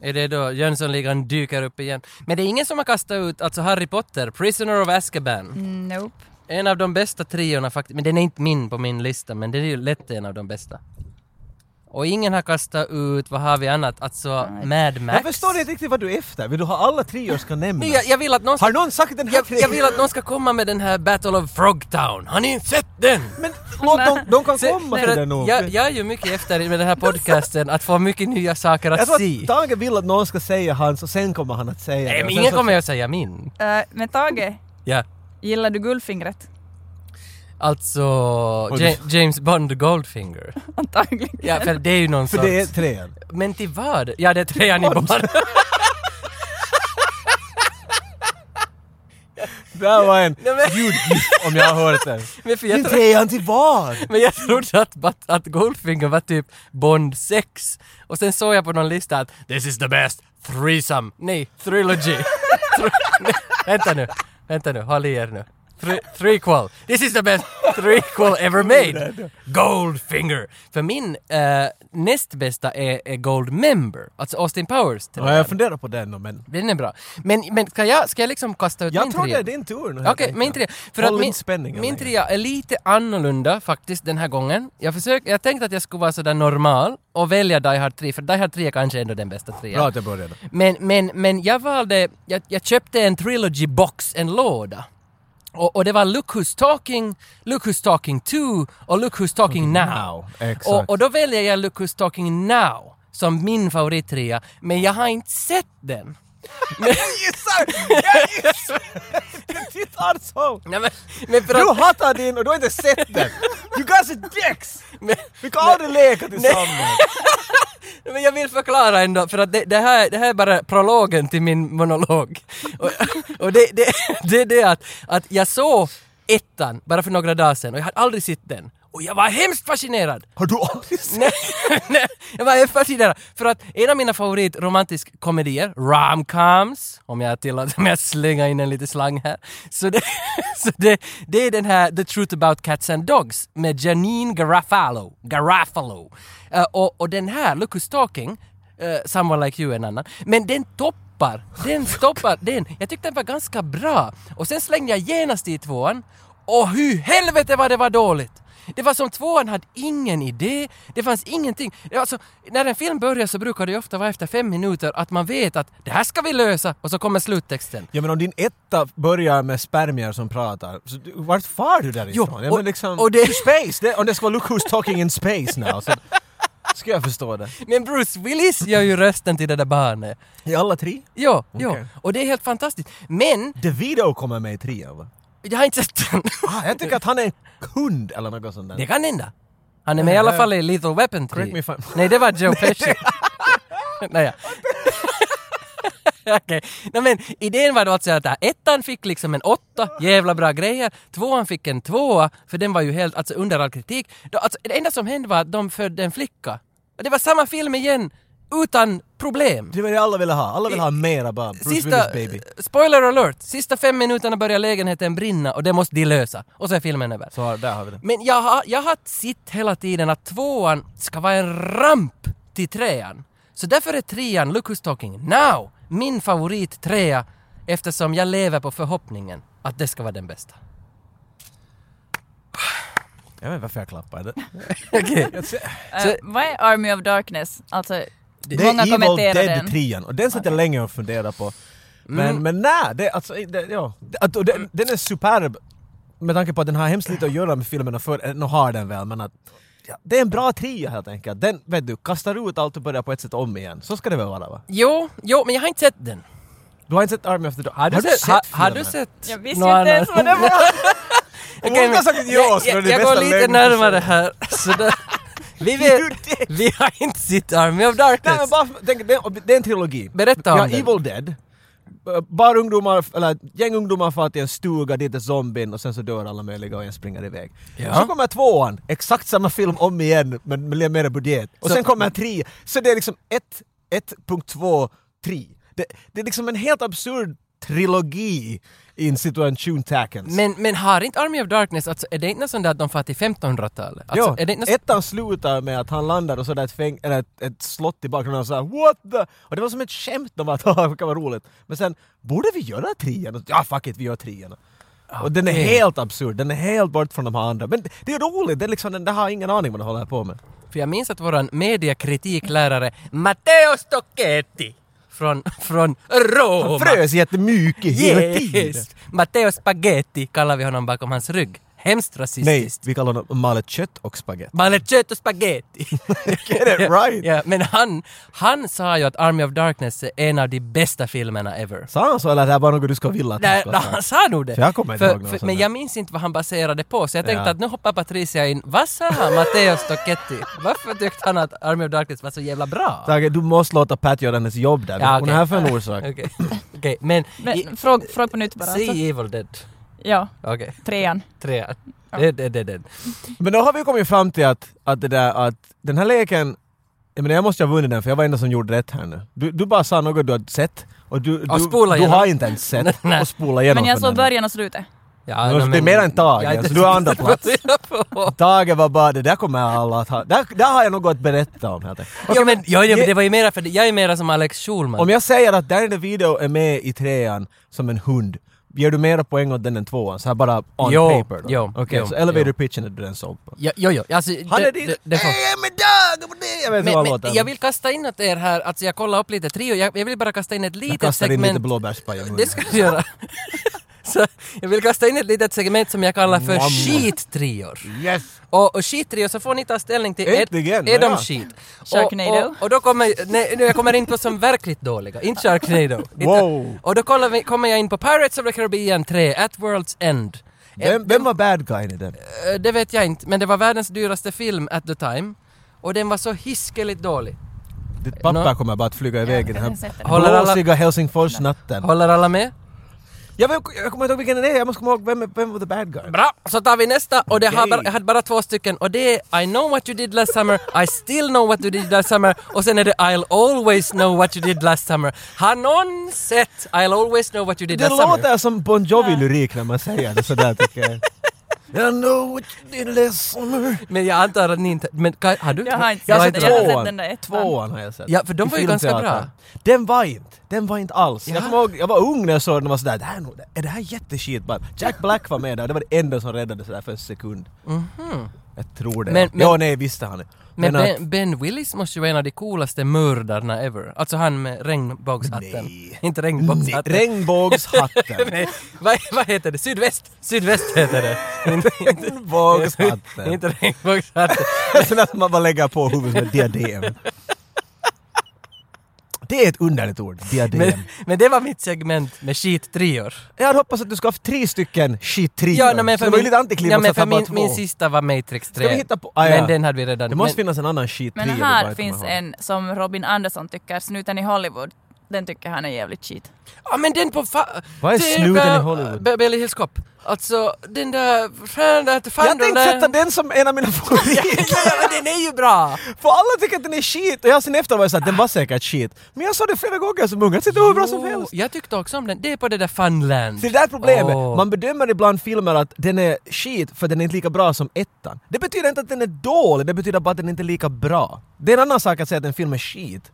Speaker 3: Är det då Jönssonligan dyker upp igen? Men det är ingen som har kastat ut alltså Harry Potter, Prisoner of Azkaban.
Speaker 4: Nope.
Speaker 3: En av de bästa triorna faktiskt, men den är inte min på min lista, men det är ju lätt en av de bästa. Och ingen har kastat ut, vad har vi annat, alltså Mad Max.
Speaker 2: Jag förstår inte riktigt vad du är efter. Vill du ha alla trior ska nämnas?
Speaker 3: Nej, jag, jag vill att någon ska,
Speaker 2: Har någon sagt den här
Speaker 3: Alltså, jag, jag
Speaker 2: trean?
Speaker 3: vill att någon ska komma med den här Battle of Frogtown. Har ni inte sett den?
Speaker 2: Men låt dem, de kan komma
Speaker 3: För
Speaker 2: till
Speaker 3: att
Speaker 2: det nog.
Speaker 3: jag, jag är ju mycket efter med den här podcasten att få mycket nya saker
Speaker 2: Jag
Speaker 3: att
Speaker 2: tror
Speaker 3: se.
Speaker 2: att Tage vill att någon ska säga hans och sen kommer han att säga
Speaker 3: Nej,
Speaker 2: det.
Speaker 3: men
Speaker 2: Och sen
Speaker 3: ingen
Speaker 2: så-
Speaker 3: kommer att säga min.
Speaker 4: Eh, men Tage,
Speaker 3: Ja.
Speaker 4: gillar du Guldfingret?
Speaker 3: Alltså,
Speaker 2: du-
Speaker 3: Ja- James Bond Goldfinger.
Speaker 4: Antagligen.
Speaker 3: Ja, för det är ju någon
Speaker 2: För
Speaker 3: sorts...
Speaker 2: det är trean.
Speaker 3: Men till vad? Ja, det är trean i barn.
Speaker 2: Det här var en
Speaker 3: Nej, men-
Speaker 2: ljudgift om jag har hört den.
Speaker 3: Men, för
Speaker 2: Till
Speaker 3: jag, tro,
Speaker 2: trean till vad?
Speaker 3: men jag trodde att, att, att Goldfinger var typ Bond 6. Och sen såg jag på någon lista att “This is the best threesome”. Nej, trilogy. Tr- nej, vänta nu, vänta nu, håll i er nu. Three, threequel. This is the best threequel ever made. Goldfinger. För min eh, näst bästa är, är Goldmember, alltså Austin Powers.
Speaker 2: Ja, jag funderar på den men...
Speaker 3: Den är bra. Men, men ska, jag, ska jag liksom kasta ut
Speaker 2: Jag
Speaker 3: min
Speaker 2: tror det
Speaker 3: trea?
Speaker 2: är din tur nu helt
Speaker 3: Okej,
Speaker 2: enkelt.
Speaker 3: min trea. För
Speaker 2: Håll
Speaker 3: att min,
Speaker 2: inte spänningen
Speaker 3: min
Speaker 2: längre.
Speaker 3: trea är lite annorlunda faktiskt den här gången. Jag, försöker, jag tänkte att jag skulle vara sådär normal och välja Die Hard 3, för Die Hard 3 är kanske ändå den bästa trean.
Speaker 2: Bra att jag började.
Speaker 3: Men, men, men jag valde, jag, jag köpte en trilogy box, en låda. Och, och det var Look Who's Talking, Look Who's Talking 2 och Look Who's Talking Now.
Speaker 2: Exakt.
Speaker 3: Och, och då väljer jag Look Who's Talking Now som min favorittrea, men jag har inte sett den.
Speaker 2: gissar! Jag gissar! Ditt arshål!
Speaker 3: Nej, men, men för
Speaker 2: Du
Speaker 3: att-
Speaker 2: hatar din och du har inte sett den! You guys are dicks! Vi kan aldrig leka tillsammans!
Speaker 3: Men jag vill förklara ändå, för att det, det, här, det här är bara prologen till min monolog. Och, och det, det, det är det att, att jag såg ettan bara för några dagar sedan och jag hade aldrig sett den. Och jag var hemskt fascinerad!
Speaker 2: Har du aldrig sett
Speaker 3: Nej, nej, jag var hemskt fascinerad! För att en av mina favoritromantisk komedier, romcoms, om jag tillåter mig att slänga in en liten slang här. Så det, så det, det är den här The Truth About Cats and Dogs med Janine Garofalo. Garofalo. Eh, och, och den här, Look Who's Talking, eh, Someone Like You är en annan. Men den toppar, den toppar den. Jag tyckte den var ganska bra. Och sen slängde jag genast i tvåan. Och hur helvete vad det var dåligt! Det var som tvåan hade ingen idé, det fanns ingenting. Alltså, när en film börjar så brukar det ju ofta vara efter fem minuter att man vet att det här ska vi lösa och så kommer sluttexten.
Speaker 2: Ja men om din etta börjar med spermier som pratar, så du- vart far du därifrån?
Speaker 3: Jo,
Speaker 2: ja,
Speaker 3: och-
Speaker 2: men liksom,
Speaker 3: och det-
Speaker 2: To space! Det, om det ska vara look who's talking in space now, så ska jag förstå det.
Speaker 3: Men Bruce Willis gör ju rösten till det där barnet.
Speaker 2: I alla tre?
Speaker 3: Ja, ja.
Speaker 2: Okej.
Speaker 3: Och det är helt fantastiskt. Men,
Speaker 2: Davido kommer med i trean va?
Speaker 3: jag har inte sett den.
Speaker 2: Ah, jag tycker att han är en hund eller något sånt där.
Speaker 3: Det kan hända. Han är med i alla
Speaker 2: eh,
Speaker 3: fall i Little Weapon 3.
Speaker 2: correct me if I'm-
Speaker 3: Nej, det var Joe Pesci. Nej, ja. Okej, Nej, men idén var då alltså att ettan fick liksom en åtta, jävla bra grejer. Tvåan fick en tvåa, för den var ju helt alltså, under all kritik. Då, alltså, det enda som hände var att de födde en flicka. Och det var samma film igen, utan problem.
Speaker 2: Det var det alla ville ha, alla ville ha mera bara Bruce
Speaker 3: Sista,
Speaker 2: Willis baby.
Speaker 3: spoiler alert, sista fem minuterna börjar lägenheten brinna och det måste de lösa. Och så är filmen över.
Speaker 2: Så där har vi det.
Speaker 3: Men jag har, jag har sett hela tiden att tvåan ska vara en ramp till trean. Så därför är trean, Look Who's Talking Now, min favorit trea eftersom jag lever på förhoppningen att det ska vara den bästa.
Speaker 2: Jag vet inte varför jag klappar. Det,
Speaker 3: Okej.
Speaker 4: Eh,
Speaker 3: Så-
Speaker 4: vad är Army of Darkness? Alltså,
Speaker 2: det
Speaker 4: många
Speaker 2: är Evil
Speaker 4: kommenterar
Speaker 2: Dead
Speaker 4: den.
Speaker 2: trean och den satt jag länge och funderade på. Men,
Speaker 3: Mm.
Speaker 2: men nej, det, alltså, det, ja. Det- att- och den, den är superb med tanke på att den har hemskt lite att göra med filmerna för eh, nu har den väl men att ja, det är en bra trio helt enkelt. Den, vet du, kastar ut allt och börjar på ett sätt om igen. Så ska det väl vara va?
Speaker 3: Jo, jo, men jag har inte sett den.
Speaker 2: Du har inte sett Army of the Dark? Har,
Speaker 3: ha, har du sett
Speaker 4: jag visste
Speaker 3: någon
Speaker 4: ju inte
Speaker 3: annan?
Speaker 4: ens vad det var!
Speaker 2: Om många har sagt ja så är
Speaker 3: jag,
Speaker 2: det
Speaker 3: jag
Speaker 2: bästa
Speaker 3: går lite
Speaker 2: lögnen.
Speaker 3: närmare här. Så där, vi, vet, vi har inte sett Army
Speaker 2: Nej
Speaker 3: of
Speaker 2: men
Speaker 3: Darkness.
Speaker 2: bara, för- tänk, det, och det är en trilogi.
Speaker 3: Berätta om
Speaker 2: ja,
Speaker 3: den.
Speaker 2: Evil Dead. Eh, Bara ungdomar, eller gäng ungdomar far till en stuga dit är zombien och sen så dör alla möjliga och en springer iväg.
Speaker 3: Ja.
Speaker 2: Så kommer tvåan, exakt samma film om igen men med lite mer budget. Och
Speaker 3: Så-
Speaker 2: sen kommer tre, så det är liksom ett- 1.2, 3. Det, det är liksom en helt absurd trilogi in situation Tackens.
Speaker 3: Men, men har inte Army of Darkness, alltså är det inte något sånt där att de far till 1500-talet? Alltså,
Speaker 2: ja,
Speaker 3: är det inte något sånt-
Speaker 2: ettan slutar med att han landar och så där ett, fäng- eller ett, ett slott i bakgrunden och så här “What the?” Och det var som ett skämt de bara “Haha, det kan vara roligt”. Men sen “Borde vi göra trean?” Och, “Ja, fuck it, vi gör trean”. Och den är
Speaker 3: Okej.
Speaker 2: helt absurd, den är helt bort från de här andra. Men det är roligt, det är liksom, den, den har ingen aning vad den håller på med.
Speaker 3: För jag minns att våran mediakritiklärare Matteo Stocchetti från, från Roma.
Speaker 2: Han frös jättemycket hela tiden.
Speaker 3: Matteo Spaghetti kallar vi honom bakom hans rygg. Hemskt
Speaker 2: Nej,
Speaker 3: rasistiskt.
Speaker 2: vi kallar honom malet kött och spagetti.
Speaker 3: Malecetto Spaghetti.
Speaker 2: Get it right!
Speaker 3: ja, men han, han sa ju att Army of Darkness är en av de bästa filmerna ever.
Speaker 2: Sa han så eller är det här bara något du ska vilja att han
Speaker 3: Nej,
Speaker 2: ska
Speaker 3: nej,
Speaker 2: säga?
Speaker 3: han sa nog det.
Speaker 2: För jag kommer inte ihåg något sånt
Speaker 3: Men
Speaker 2: där.
Speaker 3: jag minns inte vad han baserade på, så jag tänkte
Speaker 2: Ja.
Speaker 3: att nu hoppar Patricia in. Vad sa Matteo Stocchetti? Varför tyckte han att Army of Darkness var så jävla bra?
Speaker 2: Tage, du måste låta Pat göra hennes jobb där. Hon är här för en orsak.
Speaker 3: Okej, Okej, men... i,
Speaker 4: Men fråg, fråg på nytt bara.
Speaker 3: see
Speaker 4: Alltså.
Speaker 3: Evil Dead.
Speaker 4: Ja,
Speaker 3: Okej,
Speaker 4: trean.
Speaker 3: trean. Det, det, det, det.
Speaker 2: Men då har vi kommit fram till att, att, det där, att den här leken, jag, menar, jag måste ha vunnit den för jag var enda som gjorde rätt här nu. Du, du bara sa något du hade sett och du,
Speaker 3: Ja,
Speaker 2: du,
Speaker 3: spola
Speaker 2: du
Speaker 3: igenom.
Speaker 2: har inte ens sett
Speaker 3: Nej.
Speaker 2: och spola igenom
Speaker 4: Men jag
Speaker 2: för
Speaker 4: såg
Speaker 2: den.
Speaker 4: början och slutet.
Speaker 3: Ja,
Speaker 2: Det är mer än Tage,
Speaker 3: jag är
Speaker 2: så
Speaker 3: inte
Speaker 2: du har
Speaker 3: så-
Speaker 2: andra plats. Tage var bara, det där kommer alla att ha, där, där har jag något att berätta om helt enkelt.
Speaker 3: ja, men, ja, ja, men det var ju mera för jag är mera som Alex Schulman.
Speaker 2: Om jag säger att Danny DeVito är med i trean som en hund, ger du mera poäng åt den än tvåan? Så här bara on
Speaker 3: Jo,
Speaker 2: paper då?
Speaker 3: jo,
Speaker 2: Okej,
Speaker 3: jo,
Speaker 2: så elevator
Speaker 3: jo.
Speaker 2: pitchen är du den såg på.
Speaker 3: Ja, jo, jo, alltså,
Speaker 2: Han
Speaker 3: det,
Speaker 2: är din...
Speaker 3: det, det får-
Speaker 2: Hey, I'm a dog! I'm a dog! Jag vet inte vad han
Speaker 3: men,
Speaker 2: låter.
Speaker 3: men jag vill kasta in åt er här, alltså jag kollar upp lite trio, jag, jag vill bara kasta in ett
Speaker 2: Jag
Speaker 3: litet
Speaker 2: kastar in
Speaker 3: segment.
Speaker 2: lite blåbärspaj i munnen.
Speaker 3: det ska du göra. Så, jag vill kasta in ett litet segment som jag kallar för
Speaker 2: Mamma.
Speaker 3: skittrior.
Speaker 2: Yes!
Speaker 3: Och, och skittrior så får ni ta ställning till, är,
Speaker 2: Äntligen,
Speaker 3: är de
Speaker 2: ja.
Speaker 3: skit? Och,
Speaker 4: Sharknado.
Speaker 3: och, och då kommer, nej, nu jag kommer in på som verkligt dåliga, inte Sharknado. Inte-
Speaker 2: Wow.
Speaker 3: Och då kollar vi, kommer jag in på Pirates of the Caribbean 3, At World's End. Eh,
Speaker 2: Vem, vem var bad guyen i den?
Speaker 3: Eh, Det vet jag inte, men det var världens dyraste film at the time. Och den var så hiskeligt dålig.
Speaker 2: Ditt pappa
Speaker 3: nå-
Speaker 2: kommer bara att flyga iväg i den
Speaker 4: jag
Speaker 2: här
Speaker 4: sätter
Speaker 3: den. Håller alla-
Speaker 2: blåsiga Helsingforsnatten.
Speaker 3: Håller alla med?
Speaker 2: Jag, vet, jag kommer inte ihåg vilken den är, jag måste komma ihåg vem, vem var the bad guy.
Speaker 3: Bra! Så tar vi nästa och det har
Speaker 2: Okej.
Speaker 3: bara, jag hade bara två stycken och det är I know what you did last summer, I still know what you did last summer och sen är det I'll always know what you did last summer. Har någon sett I'll always know what you did
Speaker 2: Det
Speaker 3: last summer?
Speaker 2: låter som Bon Jovi-lyrik när man säger det sådär tycker jag. I know what you did last summer.
Speaker 3: Men jag antar att ni inte... Men Kaj, har du?
Speaker 4: Jag har inte
Speaker 2: Jag har
Speaker 4: sett
Speaker 2: sett
Speaker 4: den. Jag har
Speaker 2: tvåan.
Speaker 4: sett den där ettan.
Speaker 2: Tvåan har jag sett.
Speaker 3: Ja, för de
Speaker 2: I
Speaker 3: var ju ganska
Speaker 2: filmteatern.
Speaker 3: bra.
Speaker 2: Den var inte. Den var inte alls.
Speaker 3: Ja.
Speaker 2: Jag kommer ihåg, jag var ung när jag såg den och var sådär, det här är, nog, är det här jätteskit? Bara, Jack Black var med där och det var det enda som räddade sådär för en sekund. Jag tror det.
Speaker 3: Mhm. Men- men-
Speaker 2: ja, nej, visste han.
Speaker 3: Men
Speaker 2: att-
Speaker 3: ben, ben Willis måste ju vara en av de coolaste mördarna ever. Alltså han med regnbågshatten.
Speaker 2: Nej.
Speaker 3: Inte
Speaker 2: Nej,
Speaker 3: regnbågshatten.
Speaker 2: Regnbågshatten.
Speaker 3: Nej, vad, vad heter det? Sydväst? Sydväst heter det. Inte- inte-
Speaker 2: Regnbågshatten.
Speaker 3: Inte regnbågshatten.
Speaker 2: Sådär som man bara lägger på huvudet med diadem. Det är ett underligt ord, diadem.
Speaker 3: Men, men det var mitt segment med skittrior.
Speaker 2: jag hade hoppats att du ska ha haft tre stycken shit-trior.
Speaker 3: Ja, nej, men
Speaker 2: Så
Speaker 3: för
Speaker 2: det var ju
Speaker 3: min-
Speaker 2: lite
Speaker 3: ja,
Speaker 2: antiklimax
Speaker 3: men
Speaker 2: att ha
Speaker 3: för
Speaker 2: bara
Speaker 3: min,
Speaker 2: två.
Speaker 3: min sista var Matrix 3.
Speaker 2: Ska vi hitta på- ah,
Speaker 3: men
Speaker 2: ja.
Speaker 3: den hade vi redan.
Speaker 2: Det måste
Speaker 3: men,
Speaker 2: finns en annan shit
Speaker 4: Men här finns en som Robin Andersson tycker, Snuten i Hollywood. Den tycker han är jävligt shit.
Speaker 3: Ja men den på fa-
Speaker 2: Vad är
Speaker 3: det
Speaker 2: snuten
Speaker 3: där-
Speaker 2: i Hollywood?
Speaker 3: Be- Beverly Hills Cop. Alltså den där... Fan, där fan,
Speaker 2: Jag tänkte sätta den som en av mina favoriter.
Speaker 3: Ja, men den är ju bra!
Speaker 2: För alla tycker att den är shit och jag sen efter var jag såhär, den var säkert shit. Men jag sa det flera gånger som ung, att det är hur bra som
Speaker 3: Jo,
Speaker 2: helst.
Speaker 3: Oh, Jag tyckte också om den. Det är på det där Funland.
Speaker 2: Så det där är problemet,
Speaker 3: Åh.
Speaker 2: man bedömer ibland filmer att den är shit för den är inte lika bra som ettan. Det betyder inte att den är dålig, det betyder bara att den inte är lika bra. Det är en annan sak att säga att en film är shit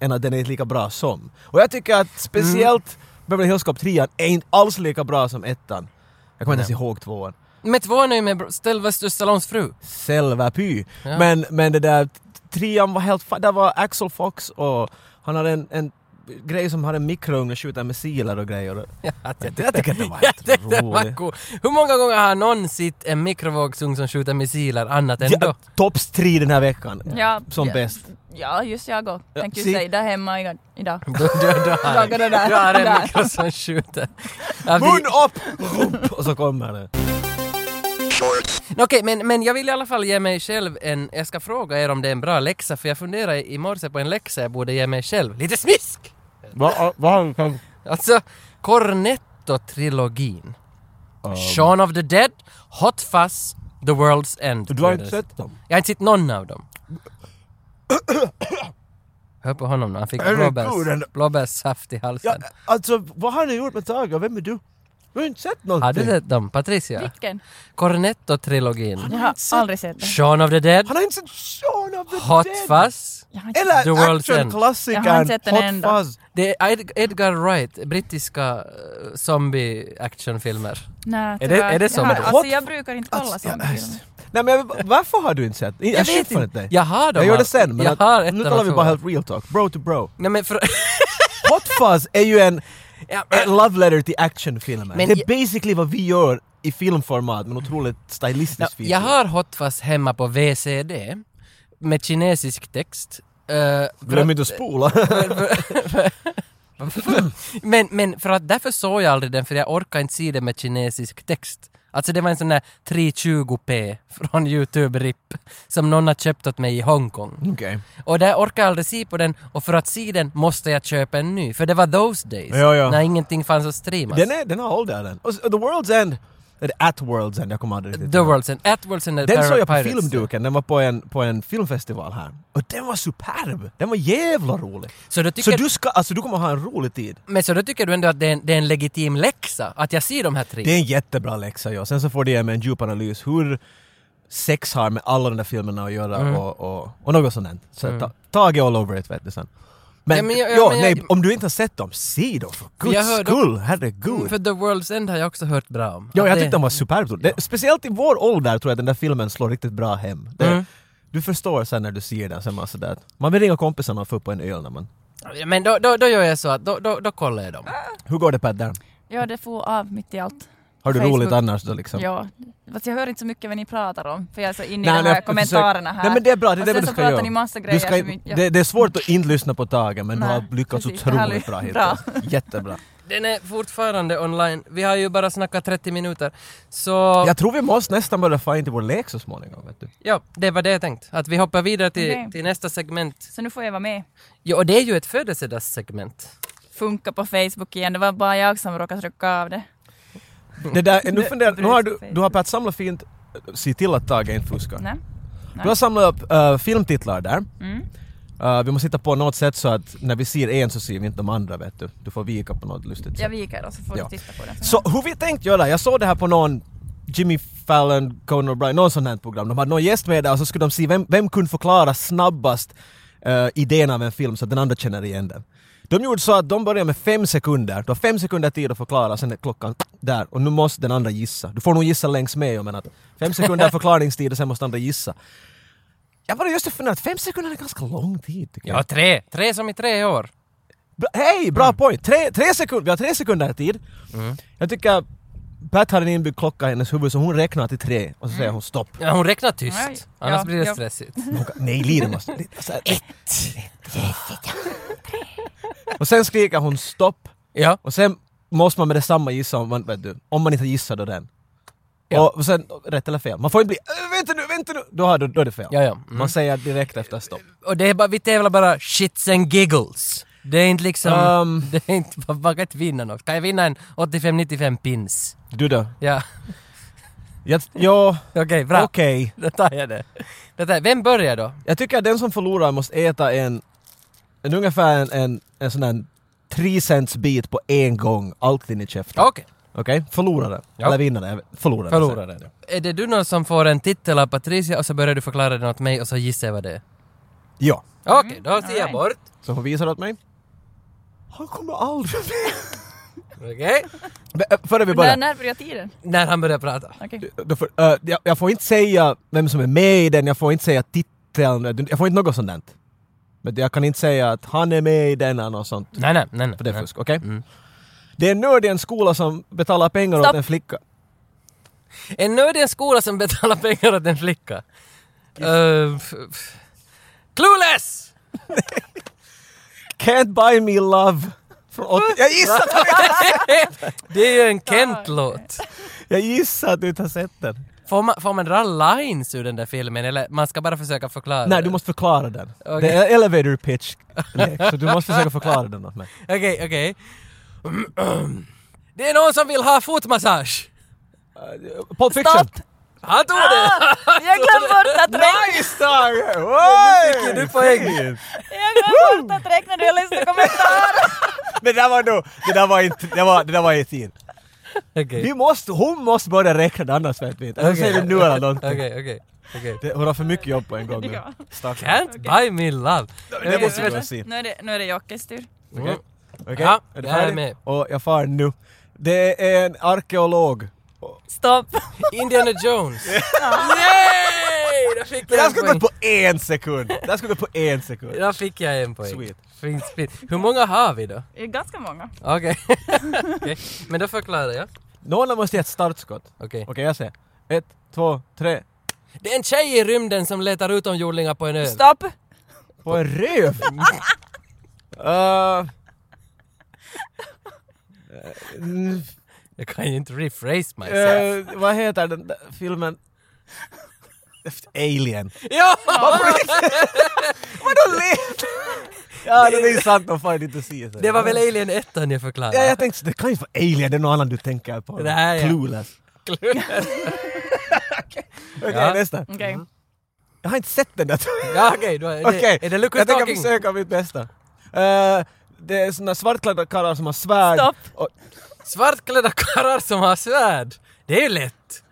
Speaker 2: än att den är inte lika bra som. Och jag tycker att speciellt
Speaker 3: Mm.
Speaker 2: Beverly Hills Cop 3 är inte alls lika bra som ettan. Jag kommer inte ens ihåg tvåan.
Speaker 3: Men tvåan är ju med Sylvester Stallones fru.
Speaker 2: Selva py.
Speaker 3: Ja.
Speaker 2: Men, men det där t- trian var helt... fa- Där var Axel Fox och han hade en, en grej som hade en mikrougn och skjuta missiler och grejer.
Speaker 3: jag
Speaker 2: Jag tycker att det var
Speaker 3: Ja, det,
Speaker 2: helt
Speaker 3: det var
Speaker 2: roligt.
Speaker 3: cool. Hur många gånger har någon sett en mikrovågsugn som skjuter missiler annat än
Speaker 2: Ja,
Speaker 3: då?
Speaker 2: Topps tre den här veckan.
Speaker 4: Ja.
Speaker 2: Som
Speaker 4: ja.
Speaker 2: bäst.
Speaker 4: Ja, just jag går.
Speaker 2: Ja,
Speaker 4: Tänk ju
Speaker 2: si-
Speaker 4: säga där hemma idag. idag.
Speaker 3: Du, du, du, har,
Speaker 4: Dagarna där.
Speaker 3: du har en
Speaker 4: Där.
Speaker 3: mikro som skjuter. Ja, vi-
Speaker 2: Mun upp! Rump! Och så kommer det.
Speaker 3: Okej, men, men jag vill i alla fall ge mig själv en... Jag ska fråga er om det är en bra läxa, för jag funderar i morse på en läxa jag borde ge mig själv. Lite smisk! Alltså, Cornetto-trilogin. Shaun of the Dead, Hot Fuzz, The World's End.
Speaker 2: Du har inte sett dem?
Speaker 3: Jag har inte sett någon av dem. Hör på honom nu, han fick
Speaker 2: Herregud,
Speaker 3: blåbärs,
Speaker 2: ändå.
Speaker 3: blåbärssaft i halsen.
Speaker 2: Ja, alltså, vad har ni gjort med Tage och vem är du? Du har inte sett någonting.
Speaker 3: Har du sett dem? Patricia?
Speaker 4: Vilken?
Speaker 3: Cornetto-trilogin.
Speaker 4: Jag
Speaker 2: har
Speaker 4: har
Speaker 2: inte sett-
Speaker 4: aldrig sett den.
Speaker 3: Shaun of the Dead?
Speaker 2: Han har inte sett Shaun of the
Speaker 3: Hot
Speaker 2: Dead!
Speaker 3: Fuzz?
Speaker 4: Jag har inte
Speaker 2: Eller
Speaker 3: The World's End.
Speaker 4: Jag har
Speaker 2: actionklassikern
Speaker 4: inte sett den
Speaker 2: Hot
Speaker 4: enda.
Speaker 2: Fuzz.
Speaker 3: Det är Ed- Edgar Wright, brittiska eh, zombie-actionfilmer.
Speaker 4: Nej,
Speaker 3: Är det-
Speaker 4: tyvärr.
Speaker 3: är det så
Speaker 4: jag,
Speaker 3: med
Speaker 4: har,
Speaker 3: dig?
Speaker 4: alltså, jag brukar inte kolla
Speaker 2: Alltså,
Speaker 4: sånt.
Speaker 2: jag- Nej men jag, vill bara- varför har du inte sett? Jag, jag köper inte dig.
Speaker 3: Jag har dem
Speaker 2: Jag gör det
Speaker 3: alla.
Speaker 2: sen men
Speaker 3: jag
Speaker 2: att,
Speaker 3: har ettan
Speaker 2: nu
Speaker 3: och
Speaker 2: talar vi bara
Speaker 3: tvåan.
Speaker 2: helt real talk, bro to bro.
Speaker 3: Nej men för...
Speaker 2: Hot Fuzz är ju en,
Speaker 3: ja,
Speaker 2: en love letter till actionfilmer.
Speaker 3: Men
Speaker 2: Det är
Speaker 3: jag-
Speaker 2: basically vad vi gör i filmformat men otroligt stylistiskt fint.
Speaker 3: jag har Hot Fuzz hemma på VCD med kinesisk text. Eh, för
Speaker 2: Glöm
Speaker 3: att-
Speaker 2: inte att spola.
Speaker 3: men, men för att därför såg jag aldrig den för jag orkar inte se den med kinesisk text. Alltså det var en sån där 320p från Youtube RIP som någon har köpt åt mig i Hongkong.
Speaker 2: Okej.
Speaker 3: Och där orkar jag aldrig se på den och för att se den måste jag köpa en ny. För det var those days.
Speaker 2: Ja, ja.
Speaker 3: När ingenting fanns att streama.
Speaker 2: Den, är, den har ålder den. Och, s- The World's End, eller At World's End, jag kommer aldrig riktigt
Speaker 3: The
Speaker 2: ihåg.
Speaker 3: World's End, At World's End,
Speaker 2: Den såg jag på
Speaker 3: Pirates.
Speaker 2: filmduken, den var på en, på en filmfestival här. Och den var superb! Den var jävla rolig!
Speaker 3: Så då
Speaker 2: Så
Speaker 3: tycker,
Speaker 2: du, ska, alltså, du kommer ha en rolig tid.
Speaker 3: Men så då tycker du ändå att det är en, det är en legitim läxa? Att jag ser de här tre?
Speaker 2: Det är en jättebra läxa, ja. Sen så får det ge mig en djup analys hur sex har med alla de där filmerna att göra
Speaker 3: Mm.
Speaker 2: och, och, och något sånt. Så ta, Tage all over it, vet du sen. Men,
Speaker 3: Ja, men jag- ja,
Speaker 2: ja,
Speaker 3: men jag-
Speaker 2: nej, om du inte har sett dem, se dem för guds
Speaker 3: jag hörde-
Speaker 2: skull! Herregud!
Speaker 3: Mm, För The World's End har jag också hört bra om.
Speaker 2: Ja,
Speaker 3: Att
Speaker 2: jag
Speaker 3: det-
Speaker 2: tyckte den var superb. Det, speciellt i vår ålder tror jag den där filmen slår riktigt bra hem. Det,
Speaker 3: Mm.
Speaker 2: Du förstår sen när du ser den, sen man sådär att man vill ringa kompisarna och få upp på en öl när man...
Speaker 3: Ja, Men då, då, då gör jag så att då, då, då kollar jag dem.
Speaker 2: Hur går det Pat där?
Speaker 4: Ja, det får av mitt i allt.
Speaker 2: Har du
Speaker 4: Facebook.
Speaker 2: roligt annars då liksom?
Speaker 4: Ja. Fast jag hör inte så mycket vad ni pratar om, för jag är så inne i
Speaker 2: Nej,
Speaker 4: de
Speaker 2: nej,
Speaker 4: här
Speaker 2: jag
Speaker 4: kommentarerna
Speaker 2: försöker-
Speaker 4: här. Alltså,
Speaker 2: Nej men det är bra, det är
Speaker 4: och
Speaker 2: det
Speaker 4: sen
Speaker 2: du
Speaker 4: så
Speaker 2: ska
Speaker 4: pratar
Speaker 2: göra.
Speaker 4: ni massa
Speaker 2: Du
Speaker 4: grejer.
Speaker 2: ska,
Speaker 4: som jag,
Speaker 2: det, det är svårt att inte lyssna på Tage men du
Speaker 4: Nej,
Speaker 2: har lyckats
Speaker 4: precis. Det här
Speaker 2: otroligt bra
Speaker 4: är
Speaker 2: hittills.
Speaker 4: bra.
Speaker 2: Jättebra.
Speaker 3: Den är fortfarande online. Vi har ju bara snackat 30 minuter. Så
Speaker 2: Jag tror vi måste nästan börja få in till vår lek så småningom vet du.
Speaker 3: ja, det var det jag tänkt. Att vi hoppar vidare till,
Speaker 4: Okej.
Speaker 3: till nästa segment.
Speaker 4: Så nu får jag vara med.
Speaker 3: Ja, och det är ju ett födelsedagssegment.
Speaker 4: Funka på Facebook igen, det var bara jag som råkade trycka av det.
Speaker 2: Det där, nu funderar, nu har du,
Speaker 4: Facebook.
Speaker 2: du har Pat samlat fint, se till att Tage inte fuskar.
Speaker 4: Nej.
Speaker 2: Du har samlat upp eh, filmtitlar där.
Speaker 4: Mm.
Speaker 2: Eh, vi måste hitta på något sätt så att när vi ser en så ser vi inte de andra vet du. Du får vika på något lustigt
Speaker 4: Jag
Speaker 2: sätt.
Speaker 4: viker och så får
Speaker 2: Ja.
Speaker 4: du titta på den.
Speaker 2: Så hur vi tänkt göra, jag såg det här på någon Jimmy Fallon, Conan O'Brien, någon sån här program. De hade någon gäst med där och så skulle de se vem, vem kunde förklara snabbast eh, idén av en film så att den andra känner igen den. De gjorde så att de började med fem sekunder, du har fem sekunder tid att förklara, sen är klockan där och nu måste den andra gissa. Du får nog gissa längs med, jag menar att fem sekunder förklaringstid och sen måste andra gissa. Jag bara just funderat, fem sekunder är ganska lång tid tycker jag.
Speaker 3: Ja, tre. Tre som i tre år.
Speaker 2: Bra, Hej, bra
Speaker 3: Mm.
Speaker 2: point! Tre, tre sekunder, vi har tre sekunder tid. Jag tycker Pat har en inbyggd klocka i hennes huvud så hon räknar till tre och så
Speaker 3: Mm.
Speaker 2: säger hon stopp.
Speaker 3: Ja, hon räknar tyst.
Speaker 4: Nej,
Speaker 3: Annars
Speaker 4: ja,
Speaker 3: blir det
Speaker 4: ja.
Speaker 3: stressigt.
Speaker 2: Hon kan- Nej, Lina måste... Alltså, ett! Och sen skriker hon stopp
Speaker 3: Ja.
Speaker 2: och sen måste man med detsamma gissa om man, vet du, om man inte gissar då den.
Speaker 3: Ja.
Speaker 2: Och sen, rätt eller fel. Man får inte bli "Äh, vänta nu, vänta nu! Då, har, du- då är det fel.
Speaker 3: Ja, ja. Mm.
Speaker 2: Man säger direkt efter stopp.
Speaker 3: Och det är bara, vi tävlar bara shits and giggles. Det är inte liksom,
Speaker 2: Ehm.
Speaker 3: det är inte, man man kan inte vinna något. Kan jag vinna en 85-95 pins?
Speaker 2: Du då?
Speaker 3: Ja,
Speaker 2: Jag, ja,
Speaker 3: okej, bra.
Speaker 2: okej.
Speaker 3: Då tar jag det. det tar, vem börjar då?
Speaker 2: Jag tycker att den som förlorar måste äta en, en ungefär en, en, en sån där 3 cents bit på en gång, allt in i käften.
Speaker 3: Okej.
Speaker 2: Okej? Förlorare.
Speaker 3: Ja.
Speaker 2: Eller vinnare. jag vet- Förlorare.
Speaker 3: Förlorare. Är det du någon som får en titel av Patricia och så börjar du förklara den åt mig och så gissar jag vad det är?
Speaker 2: Ja.
Speaker 3: Okej, då ser
Speaker 4: all
Speaker 3: jag
Speaker 4: right.
Speaker 3: bort.
Speaker 2: Så hon visar åt mig. Han kommer aldrig med.
Speaker 3: Okej.
Speaker 2: Men, äh, Före vi
Speaker 4: När,
Speaker 2: börjar.
Speaker 4: när börjar tiden?
Speaker 3: När han börjar prata.
Speaker 4: Okej.
Speaker 2: Då får, äh, jag, jag får inte säga vem som är med i den, jag får inte säga titeln, jag får inte något sånt. där. Men jag kan inte säga att han är med i den eller något sånt.
Speaker 3: Nej, nej, nej. nej.
Speaker 2: För det är
Speaker 3: nej.
Speaker 2: fusk, okej?
Speaker 3: Mm.
Speaker 2: Det är en nörd i en skola som betalar pengar åt
Speaker 4: Stopp.
Speaker 2: en flicka.
Speaker 3: En nörd i en skola som betalar pengar åt en flicka. Uh, f- f- clueless!
Speaker 2: Can't buy me love. Från 80 jag gissar att du,
Speaker 3: det är ju en Kent-låt.
Speaker 2: jag gissar att du inte har sett den.
Speaker 3: Får man, får man dra lines ur den där filmen eller man ska bara försöka förklara?
Speaker 2: Nej,
Speaker 3: det?
Speaker 2: du måste förklara den.
Speaker 3: Okej.
Speaker 2: Det är elevator pitch. lek, Så du måste försöka förklara den åt mig.
Speaker 3: Okej, okej. Det är någon som vill ha fotmassage!
Speaker 2: Pulp Fiction!
Speaker 4: Stopp!
Speaker 3: Han tog det!
Speaker 4: Jag glömde bort att räkna,
Speaker 2: Nice Tiger! Oj!
Speaker 3: fick ju du poäng.
Speaker 2: Fint.
Speaker 4: jag glömde bort att räkna när jag läste kommentarer.
Speaker 2: Det där var nog... Det där var inte... Det, var, det där var i tid.
Speaker 3: Okej.
Speaker 2: Vi måste... Hon måste börja räkna det annars vet vi inte. Eller säger vi nu eller någonting.
Speaker 3: Okej, okej, okej.
Speaker 2: Det, hon har för mycket jobb på en gång nu.
Speaker 4: Ja.
Speaker 2: Stackarn.
Speaker 3: Can't buy me love.
Speaker 2: Det måste vi se.
Speaker 4: Nu är det, nu är det Jockes tur.
Speaker 3: Mm.
Speaker 2: Okej?
Speaker 3: Ja,
Speaker 2: är du
Speaker 3: jag är
Speaker 2: färdig?
Speaker 3: med.
Speaker 2: Och jag far nu. Det är en arkeolog.
Speaker 4: Stopp.
Speaker 3: Indiana Jones. Yay! Då fick
Speaker 2: Det där
Speaker 3: jag
Speaker 2: skulle
Speaker 3: en
Speaker 2: gått
Speaker 3: poäng.
Speaker 2: på en sekund! Det där skulle gått på en sekund.
Speaker 3: Då fick jag en poäng.
Speaker 2: Sweet.
Speaker 3: Fint, fint. Hur många har vi då?
Speaker 4: Det är ganska många.
Speaker 3: Okej. Okej, Men då förklarar jag.
Speaker 2: Någon måste ge ett startskott.
Speaker 3: Okej.
Speaker 2: Okej, jag säger. Ett, två, tre.
Speaker 3: Det är en tjej i rymden som letar utomjordingar på en ö.
Speaker 4: Stopp.
Speaker 2: På en röv? Eh, mm,
Speaker 3: Jag kan ju inte rephrase myself.
Speaker 2: eh, vad heter den där filmen? Alien.
Speaker 3: Ja!
Speaker 2: Vadå le- Ja, det är sant. De får inte se sig.
Speaker 3: Det var väl Alien 1 jag förklarade?
Speaker 2: Ja, jag tänkte det kan ju inte vara Alien, det är någon annan du tänker på.
Speaker 3: Det här, ja.
Speaker 2: Clueless. Okej,
Speaker 3: Ja.
Speaker 2: nästa.
Speaker 4: Okej.
Speaker 2: Jag har inte sett den där.
Speaker 3: Ja, okej. då är det-
Speaker 2: Okej,
Speaker 3: Är det Lucas
Speaker 2: jag tänker
Speaker 3: Talking?
Speaker 2: försöka mitt bästa. Eh, det är såna svartklädda karlar som har svärd.
Speaker 4: Stopp.
Speaker 2: Och,
Speaker 3: Svartklädda karlar som har svärd. Det är ju lätt.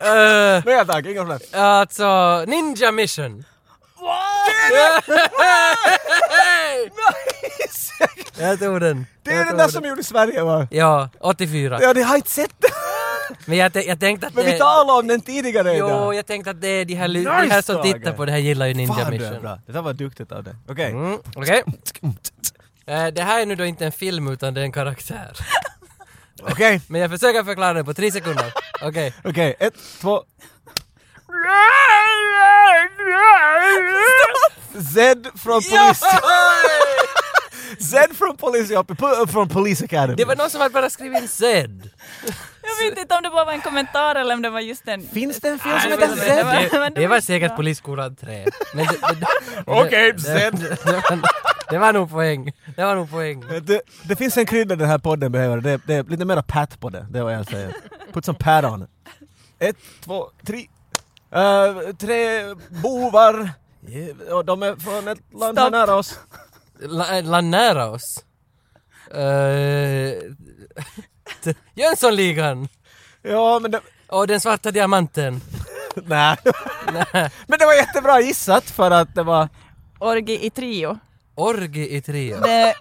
Speaker 3: Eh,
Speaker 2: nej tack, inga problem.
Speaker 3: alltså, Ninja Mission. Jag tog den.
Speaker 2: Det är den där som gjorde Sverige va?
Speaker 3: Ja, 84.
Speaker 2: Ja, det har jag inte sett den.
Speaker 3: Men jag, tän- jag tänkte att
Speaker 2: Men
Speaker 3: det...
Speaker 2: vi talade om den tidigare
Speaker 3: Jo,
Speaker 2: idag.
Speaker 3: jag tänkte att det är de här, nice de
Speaker 2: Nice,
Speaker 3: här som
Speaker 2: Tage.
Speaker 3: tittar på det här gillar ju Ninja
Speaker 2: Fan, du är
Speaker 3: Mission.
Speaker 2: bra. Det där var duktigt av dig. Okej.
Speaker 3: Mm, okej. Eh, det här är nu då inte en film utan det är en karaktär.
Speaker 2: Okej,
Speaker 3: Men jag försöker förklara det på tre sekunder. Okej.
Speaker 2: okej. Ett, två. Zed från Police. Zed från Police, ja, po- från Police Academy.
Speaker 3: Det var någon som hade bara skrivit in Zed.
Speaker 4: Jag vet inte om det bara var en kommentar eller om det var just en...
Speaker 2: Finns det en film som
Speaker 4: Nej,
Speaker 2: heter
Speaker 4: men-
Speaker 2: Zed?
Speaker 4: men-
Speaker 3: Det, det var säkert
Speaker 4: Ja.
Speaker 3: Polisskolan 3. Men det- det- det-
Speaker 2: Okej,
Speaker 3: det-
Speaker 2: Zed.
Speaker 3: det- det var- Det var nog poäng. Det var nog poäng.
Speaker 2: Eh, Det, det finns en krydda den här podden behöver, det, det är lite mera pat på det, det är vad jag säger. Put some pat on it. Ett, två, tre. Eh, tre bovar. Eh, Och de är från ett land här
Speaker 4: Stopp.
Speaker 2: nära oss.
Speaker 3: La- Land nära oss. Uh, Jönssonligan!
Speaker 2: Ja men det...
Speaker 3: Och den svarta diamanten.
Speaker 2: Nej. men det var jättebra gissat för att det var...
Speaker 4: Orgi i trio.
Speaker 3: Orgi i tre.
Speaker 4: Det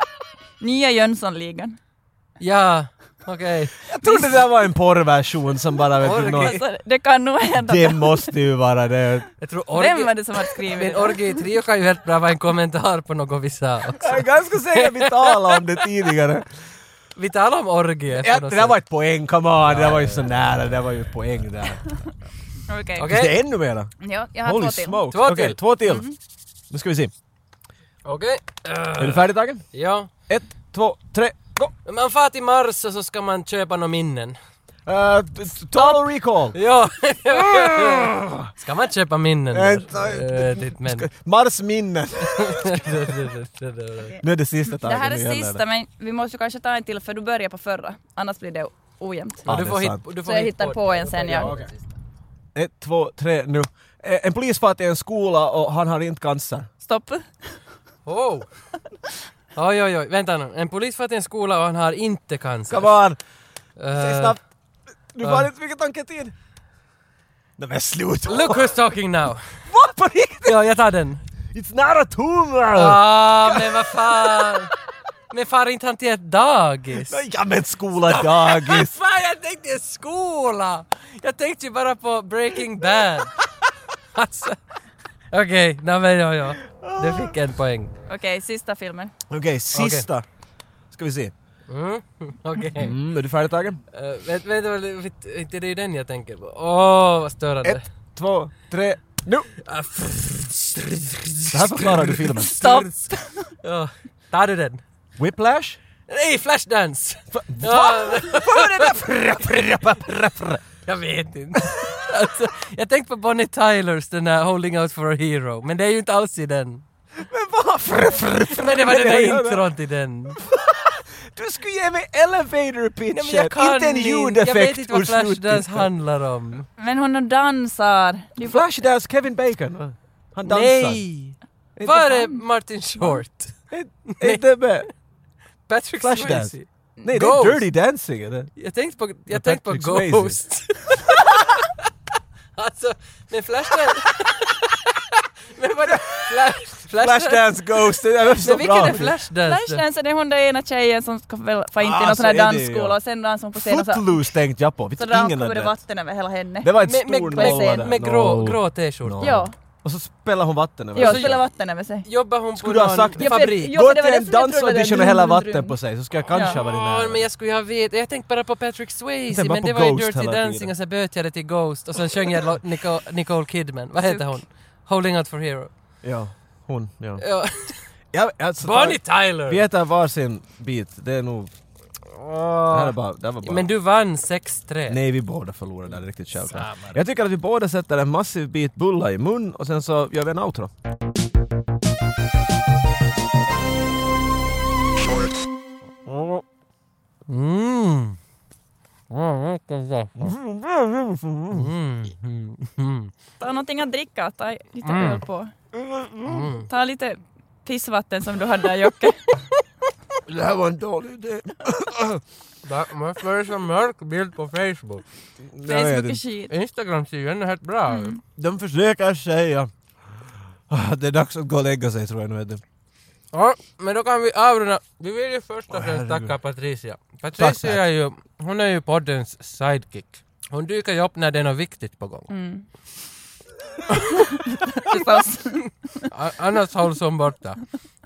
Speaker 4: nya Jönssonligan.
Speaker 3: Ja, okej.
Speaker 2: Jag trodde det där var en porrversion som bara vet du,
Speaker 3: Orgi.
Speaker 2: någon,
Speaker 4: Alltså, det kan nog hända.
Speaker 2: Det måste ju vara det.
Speaker 3: Jag tror
Speaker 4: Vem var
Speaker 3: orgi...
Speaker 4: det som hade skrivit
Speaker 3: Men
Speaker 4: det?
Speaker 3: orgi i trio kan ju helt bra vara en kommentar på något vi sa också.
Speaker 2: Jag är ganska säker att vi talade om det tidigare.
Speaker 3: Vi talade om orgie
Speaker 2: Ja,
Speaker 3: på
Speaker 2: det
Speaker 3: något
Speaker 2: där
Speaker 3: sätt.
Speaker 2: var ett poäng, come on! Det där var ju så nära, det där var ju ett poäng där.
Speaker 4: Okej.
Speaker 3: Okej.
Speaker 2: Finns det ännu mera?
Speaker 4: Ja, jag har två till. Mm-hmm.
Speaker 2: smokes.
Speaker 3: Två
Speaker 2: Okej,
Speaker 3: till.
Speaker 2: två till. Nu ska vi se.
Speaker 3: Okej. Eh,
Speaker 2: Är
Speaker 3: Äh.
Speaker 2: du färdig Tage?
Speaker 3: Ja.
Speaker 2: Ett, två, tre, gå!
Speaker 3: Man far till Mars och så ska man köpa några minnen.
Speaker 2: Uh, t- t- total recall!
Speaker 3: Ja! ska man köpa minnen?
Speaker 2: Ah! Vänta.
Speaker 3: Eh, ditt men.
Speaker 2: Mars minnen! Nu är det sista Tage.
Speaker 4: Det här
Speaker 2: nu
Speaker 4: är
Speaker 2: gäller det.
Speaker 4: sista, men vi måste kanske ta en till för du börjar på förra. Annars blir det ojämnt.
Speaker 2: Ja,
Speaker 3: du
Speaker 2: det
Speaker 3: får
Speaker 2: är
Speaker 3: hit,
Speaker 2: sant.
Speaker 3: du får
Speaker 4: Så jag
Speaker 3: hit
Speaker 4: hittar på en sen, ja.
Speaker 2: okej. Ett, två, tre, nu. Eh, En polis far till en skola och han har inte cancer.
Speaker 4: Stopp.
Speaker 3: Oh. Oj, oj, oj. Vänta nu. En polis får till en skola och han har inte cancer.
Speaker 2: Come on! Säg
Speaker 3: Eh,
Speaker 2: snabbt! Du
Speaker 3: ja.
Speaker 2: har inte så mycket tanketid! Nej men sluta!
Speaker 3: Look who's talking now!
Speaker 2: Vad på riktigt!
Speaker 3: Ja, jag tar den.
Speaker 2: It's not a tumor!
Speaker 3: Ah, men vad fan! Men far inte han till ett dagis?
Speaker 2: Ja men skola, dagis!
Speaker 3: Fan, jag tänkte en skola! Jag tänkte ju bara på Breaking Bad. Alltså. Okej, nej men ja, ja. Du fick en poäng.
Speaker 4: Okej, sista filmen.
Speaker 2: Okej, sista. Ska vi se.
Speaker 3: Mm, Okej.
Speaker 2: Mm, är du färdig Tage?
Speaker 3: Eh, Vänta, vänta, vänta, inte det är ju den jag tänker på. Åh, vad störande.
Speaker 2: Ett, två, tre, nu!
Speaker 3: Ah, pff.
Speaker 2: Det här förklarar du filmen.
Speaker 4: Stopp.
Speaker 3: Ja, Tar du den?
Speaker 2: Whiplash?
Speaker 3: Nej, Flashdance! Ja,
Speaker 2: Va? Vad är det där? Frra, frra, frra, frra.
Speaker 3: jag vet inte. Alltså, jag tänkte på Bonnie Tylers, den där Holding Out for a Hero, men det är ju inte alls i den.
Speaker 2: Men vad? Frr, frr, frr.
Speaker 3: Men det var den
Speaker 2: Jag
Speaker 3: där
Speaker 2: gör det.
Speaker 3: intron till den.
Speaker 2: Du skulle ge mig elevator
Speaker 3: Nej,
Speaker 2: pitchen!
Speaker 3: men jag kan
Speaker 2: inte en
Speaker 3: Jag vet
Speaker 2: ljudeffekt
Speaker 3: inte vad Flashdance
Speaker 2: sluttiteln.
Speaker 3: handlar om.
Speaker 4: Men hon dansar. Det är bara-
Speaker 2: Flashdance Kevin Bacon va? Han dansar.
Speaker 3: Nej! Var är Martin Short?
Speaker 2: Är inte med?
Speaker 3: Patrick
Speaker 2: Flashdance.
Speaker 3: Swayze?
Speaker 2: Nej, det
Speaker 3: Ghost.
Speaker 2: är Dirty Dancing eller?
Speaker 3: Jag tänkte på,
Speaker 2: Men
Speaker 3: jag tänkte på
Speaker 2: Patrick
Speaker 3: Ghost. alltså, men Flashdance... men vad är Flash, Flashdance?
Speaker 2: Flashdance Ghost, det är så
Speaker 3: Men
Speaker 2: bra!
Speaker 3: vilken är Flashdance? då?
Speaker 4: Flashdance är det hon där ena tjejen som ska väl få in till
Speaker 2: Ah,
Speaker 4: någon
Speaker 2: så
Speaker 4: sån här
Speaker 2: är det ju,
Speaker 4: dansskola
Speaker 2: ja.
Speaker 4: och sen dansar hon på scenen och så,
Speaker 2: Footloose tänkte jag på, vet
Speaker 4: så
Speaker 2: du,
Speaker 4: rann
Speaker 2: ingen
Speaker 4: kommer
Speaker 2: hade
Speaker 4: det
Speaker 2: rätt.
Speaker 4: vatten över hela henne.
Speaker 2: Det var ett
Speaker 3: Med, med,
Speaker 2: stor nolla
Speaker 3: med,
Speaker 2: där.
Speaker 3: med, grå,
Speaker 2: No.
Speaker 3: grå t-skjorta.
Speaker 2: No.
Speaker 4: Ja,
Speaker 2: Och så spelar hon vatten över
Speaker 4: ja
Speaker 2: sig.
Speaker 4: spela vatten över sig.
Speaker 3: Jobbar hon
Speaker 2: Skulle
Speaker 3: på
Speaker 2: du ha
Speaker 3: någon
Speaker 2: sagt det?
Speaker 3: fabrik?
Speaker 4: Ja,
Speaker 2: Gå
Speaker 4: för det var
Speaker 2: till en
Speaker 4: därför jag trodde det
Speaker 2: dansaudition och
Speaker 4: där
Speaker 2: hälla
Speaker 4: dum,
Speaker 2: vatten
Speaker 4: dum.
Speaker 2: på sig så ska jag kanske ha varit
Speaker 3: Åh, men
Speaker 2: nära.
Speaker 3: jag skulle ju ha vet. Jag tänkte bara på Patrick Swayze,
Speaker 2: tänkte bara
Speaker 3: men
Speaker 2: på
Speaker 3: det var ju
Speaker 2: Ghost
Speaker 3: Dirty
Speaker 2: hela tiden.
Speaker 3: Dancing och sen böt jag det till Ghost och sen sjöng jag lo- Nicole, Nicole Kidman. Vad heter hon? Holding Out for Hero.
Speaker 2: Ja, hon, ja.
Speaker 3: Ja.
Speaker 2: ja alltså,
Speaker 3: Bonnie Tyler!
Speaker 2: Vi äter varsin bit, det är nog... Det här är bara... Det här var bara...
Speaker 3: Men du vann 6-3.
Speaker 2: Nej, vi båda förlorade där riktigt självklart.
Speaker 3: Samma.
Speaker 2: Jag tycker att vi båda sätter en massiv bit bulla i mun och sen så gör vi en outro.
Speaker 3: Mm. Mm. Mm. Mm.
Speaker 4: Ta någonting att dricka, ta lite
Speaker 2: Mm.
Speaker 4: öl på. Ta lite pissvatten som du hade där Jocke.
Speaker 2: Det här var en dålig idé.
Speaker 3: Varför är det så mörk bild på Facebook?
Speaker 2: Jag vet
Speaker 4: Facebook är
Speaker 2: inte.
Speaker 4: skit.
Speaker 3: Instagram ser ju ändå helt bra ut.
Speaker 2: De försöker säga... Ah, Det är dags att gå och lägga sig tror jag nu. Eddie.
Speaker 3: Ja, men då kan vi avrunda. Vi vill ju först och främst
Speaker 2: herregud.
Speaker 3: tacka Patricia.
Speaker 2: Tack,
Speaker 3: Patricia
Speaker 2: tack.
Speaker 3: är ju, hon är ju poddens sidekick. Hon dyker ju upp när det är något viktigt på gång.
Speaker 4: Mm. Förstås.
Speaker 3: A- Annars hålls hon borta.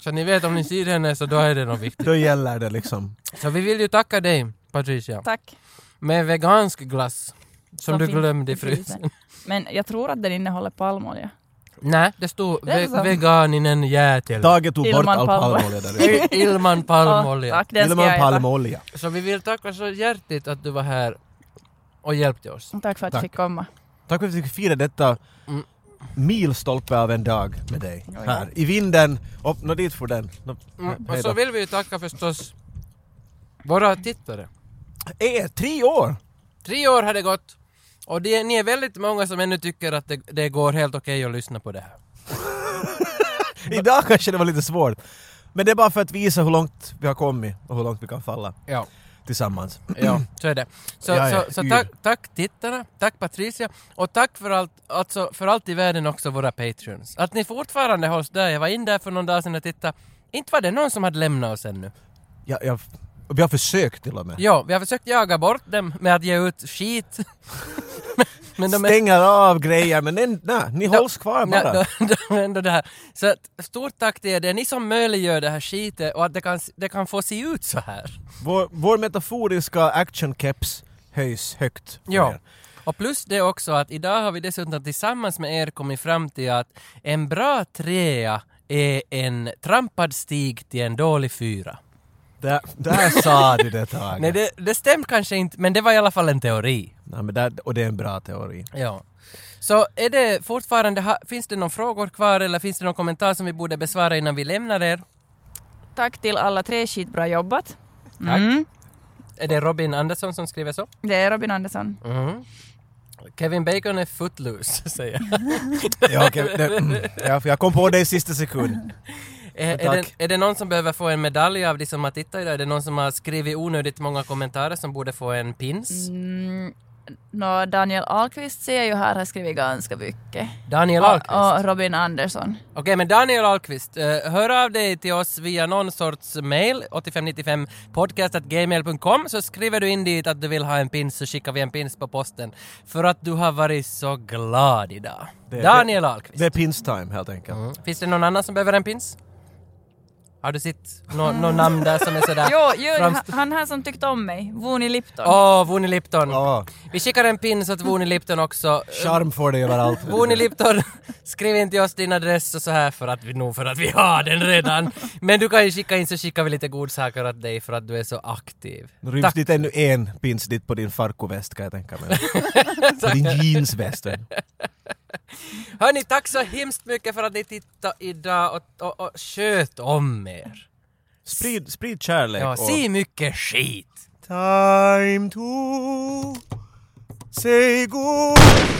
Speaker 3: Så ni vet om ni ser henne så då är det något viktigt.
Speaker 2: Då gäller det liksom.
Speaker 3: Så vi vill ju tacka dig Patricia.
Speaker 4: Tack.
Speaker 3: Med vegansk glass. Som, du
Speaker 4: finns
Speaker 3: glömde i frysen.
Speaker 4: Men jag tror att den innehåller palmolja.
Speaker 3: Nej, det stod
Speaker 4: Det är
Speaker 3: ve-
Speaker 4: så.
Speaker 3: veganinen jätel.
Speaker 2: Tage tog bort
Speaker 4: Ilman
Speaker 2: all
Speaker 4: palmolja.
Speaker 2: palmolja där.
Speaker 3: I- Ilman palmolja.
Speaker 4: Ja, tack, den ska
Speaker 2: Ilman
Speaker 4: jag äta.
Speaker 2: palmolja.
Speaker 3: så vi vill tacka så hjärtligt att du var här och hjälpte oss.
Speaker 4: Tack för att jag
Speaker 2: Tack.
Speaker 4: fick komma.
Speaker 2: Tack för att vi fick fira detta
Speaker 3: Mm.
Speaker 2: milstolpe av en dag med dig.
Speaker 4: ja.
Speaker 2: Här, i vinden. Upp, nå dit för den. Nå,
Speaker 3: Mm,
Speaker 2: hej
Speaker 3: och
Speaker 2: då.
Speaker 3: så vill vi ju tacka förstås våra tittare.
Speaker 2: Eh, tre år!
Speaker 3: Tre år har det gått och det, ni är väldigt många som ännu tycker att det, det går helt okej att lyssna på det här. Mm.
Speaker 2: Idag kanske det var lite svårt. Men det är bara för att visa hur långt vi har kommit och hur långt vi kan falla
Speaker 3: Ja,
Speaker 2: tillsammans.
Speaker 3: ja så är det. Så,
Speaker 2: Ja, ja,
Speaker 3: så, så
Speaker 2: yr.
Speaker 3: tack, tack tittarna, tack Patricia och tack för allt, alltså för allt i världen också våra patreons. Att ni fortfarande hålls där, jag var in där för någon dag sedan och tittade. Inte var det någon som hade lämnat oss ännu.
Speaker 2: Jag, jag, vi har försökt till och med.
Speaker 3: Ja, vi har försökt jaga bort dem med att ge ut skit. men, men de är
Speaker 2: Stänger av grejer men nej, nej, ni hålls kvar bara.
Speaker 3: Ja, då- då är ändå det här. Så att, stort tack till er, det är ni som möjliggör det här skitet och att det kan, det kan få se ut så här.
Speaker 2: Vår, vår metaforiska actionkeps höjs högt. för
Speaker 3: Ja.
Speaker 2: er.
Speaker 3: Och plus det också att idag har vi dessutom tillsammans med er kommit fram till att en bra trea är en trampad stig till en dålig fyra.
Speaker 2: Där, där sa du det Tage.
Speaker 3: Nej, det, det stämmer kanske inte, men det var i alla fall en teori.
Speaker 2: Nej, men där, och det är en bra teori.
Speaker 3: Ja. Så är det fortfarande, ha, finns det några frågor kvar eller finns det någon kommentar som vi borde besvara innan vi lämnar er?
Speaker 4: Tack till alla tre, skitbra jobbat.
Speaker 3: Tack.
Speaker 4: Mm.
Speaker 3: Är det Robin Andersson som skriver så?
Speaker 4: Det är Robin Andersson.
Speaker 3: Mhm. Kevin Bacon är footloose, säger jag.
Speaker 2: Ja, okej, det, mm, ja, för jag kom på det i sista sekund.
Speaker 3: är, är,
Speaker 2: Tack.
Speaker 3: det, är det någon som behöver få en medalj av de som har tittat idag? Är det någon som har skrivit onödigt många kommentarer som borde få en pins?
Speaker 4: Mm. Nå, Daniel Ahlqvist ser jag ju här har skrivit ganska mycket.
Speaker 3: Daniel Ahlqvist?
Speaker 4: Och, och Robin Andersson.
Speaker 3: Okej, men Daniel Ahlqvist, eh, hör av dig till oss via någon sorts mail, 8595podcast.gmail.com, så skriver du in dit att du vill ha en pins så skickar vi en pins på posten. För att du har varit så glad idag.
Speaker 2: Det-
Speaker 3: Daniel Ahlqvist.
Speaker 2: Det är pinstime helt enkelt.
Speaker 3: Finns det någon annan som behöver en pins? Har du sett nå- något namn där som är sådär...
Speaker 4: Jo, jo han,
Speaker 3: framst-
Speaker 4: han här som tyckte om mig, Voni Lipton.
Speaker 3: Åh, oh, Vuni Lipton.
Speaker 2: Ja,
Speaker 3: Vi skickar en pins åt Vuni Lipton också.
Speaker 2: charm får det överallt.
Speaker 3: Vuni Lipton, skriv in till oss din adress och så här för att vi, nog för att vi har den redan. Men du kan ju skicka in så skickar vi lite godsaker åt dig för att du är så aktiv.
Speaker 2: Det ryms
Speaker 3: Tack.
Speaker 2: dit ännu en pins dit på din farkoväst kan jag tänka mig. på din jeansväst.
Speaker 3: Hörni, tack så hemskt mycket för att ni tittade idag och, och, och sköt om er.
Speaker 2: Sprid, sprid kärlek
Speaker 3: Ja,
Speaker 2: och...
Speaker 3: se mycket skit.
Speaker 2: Time to say goodbye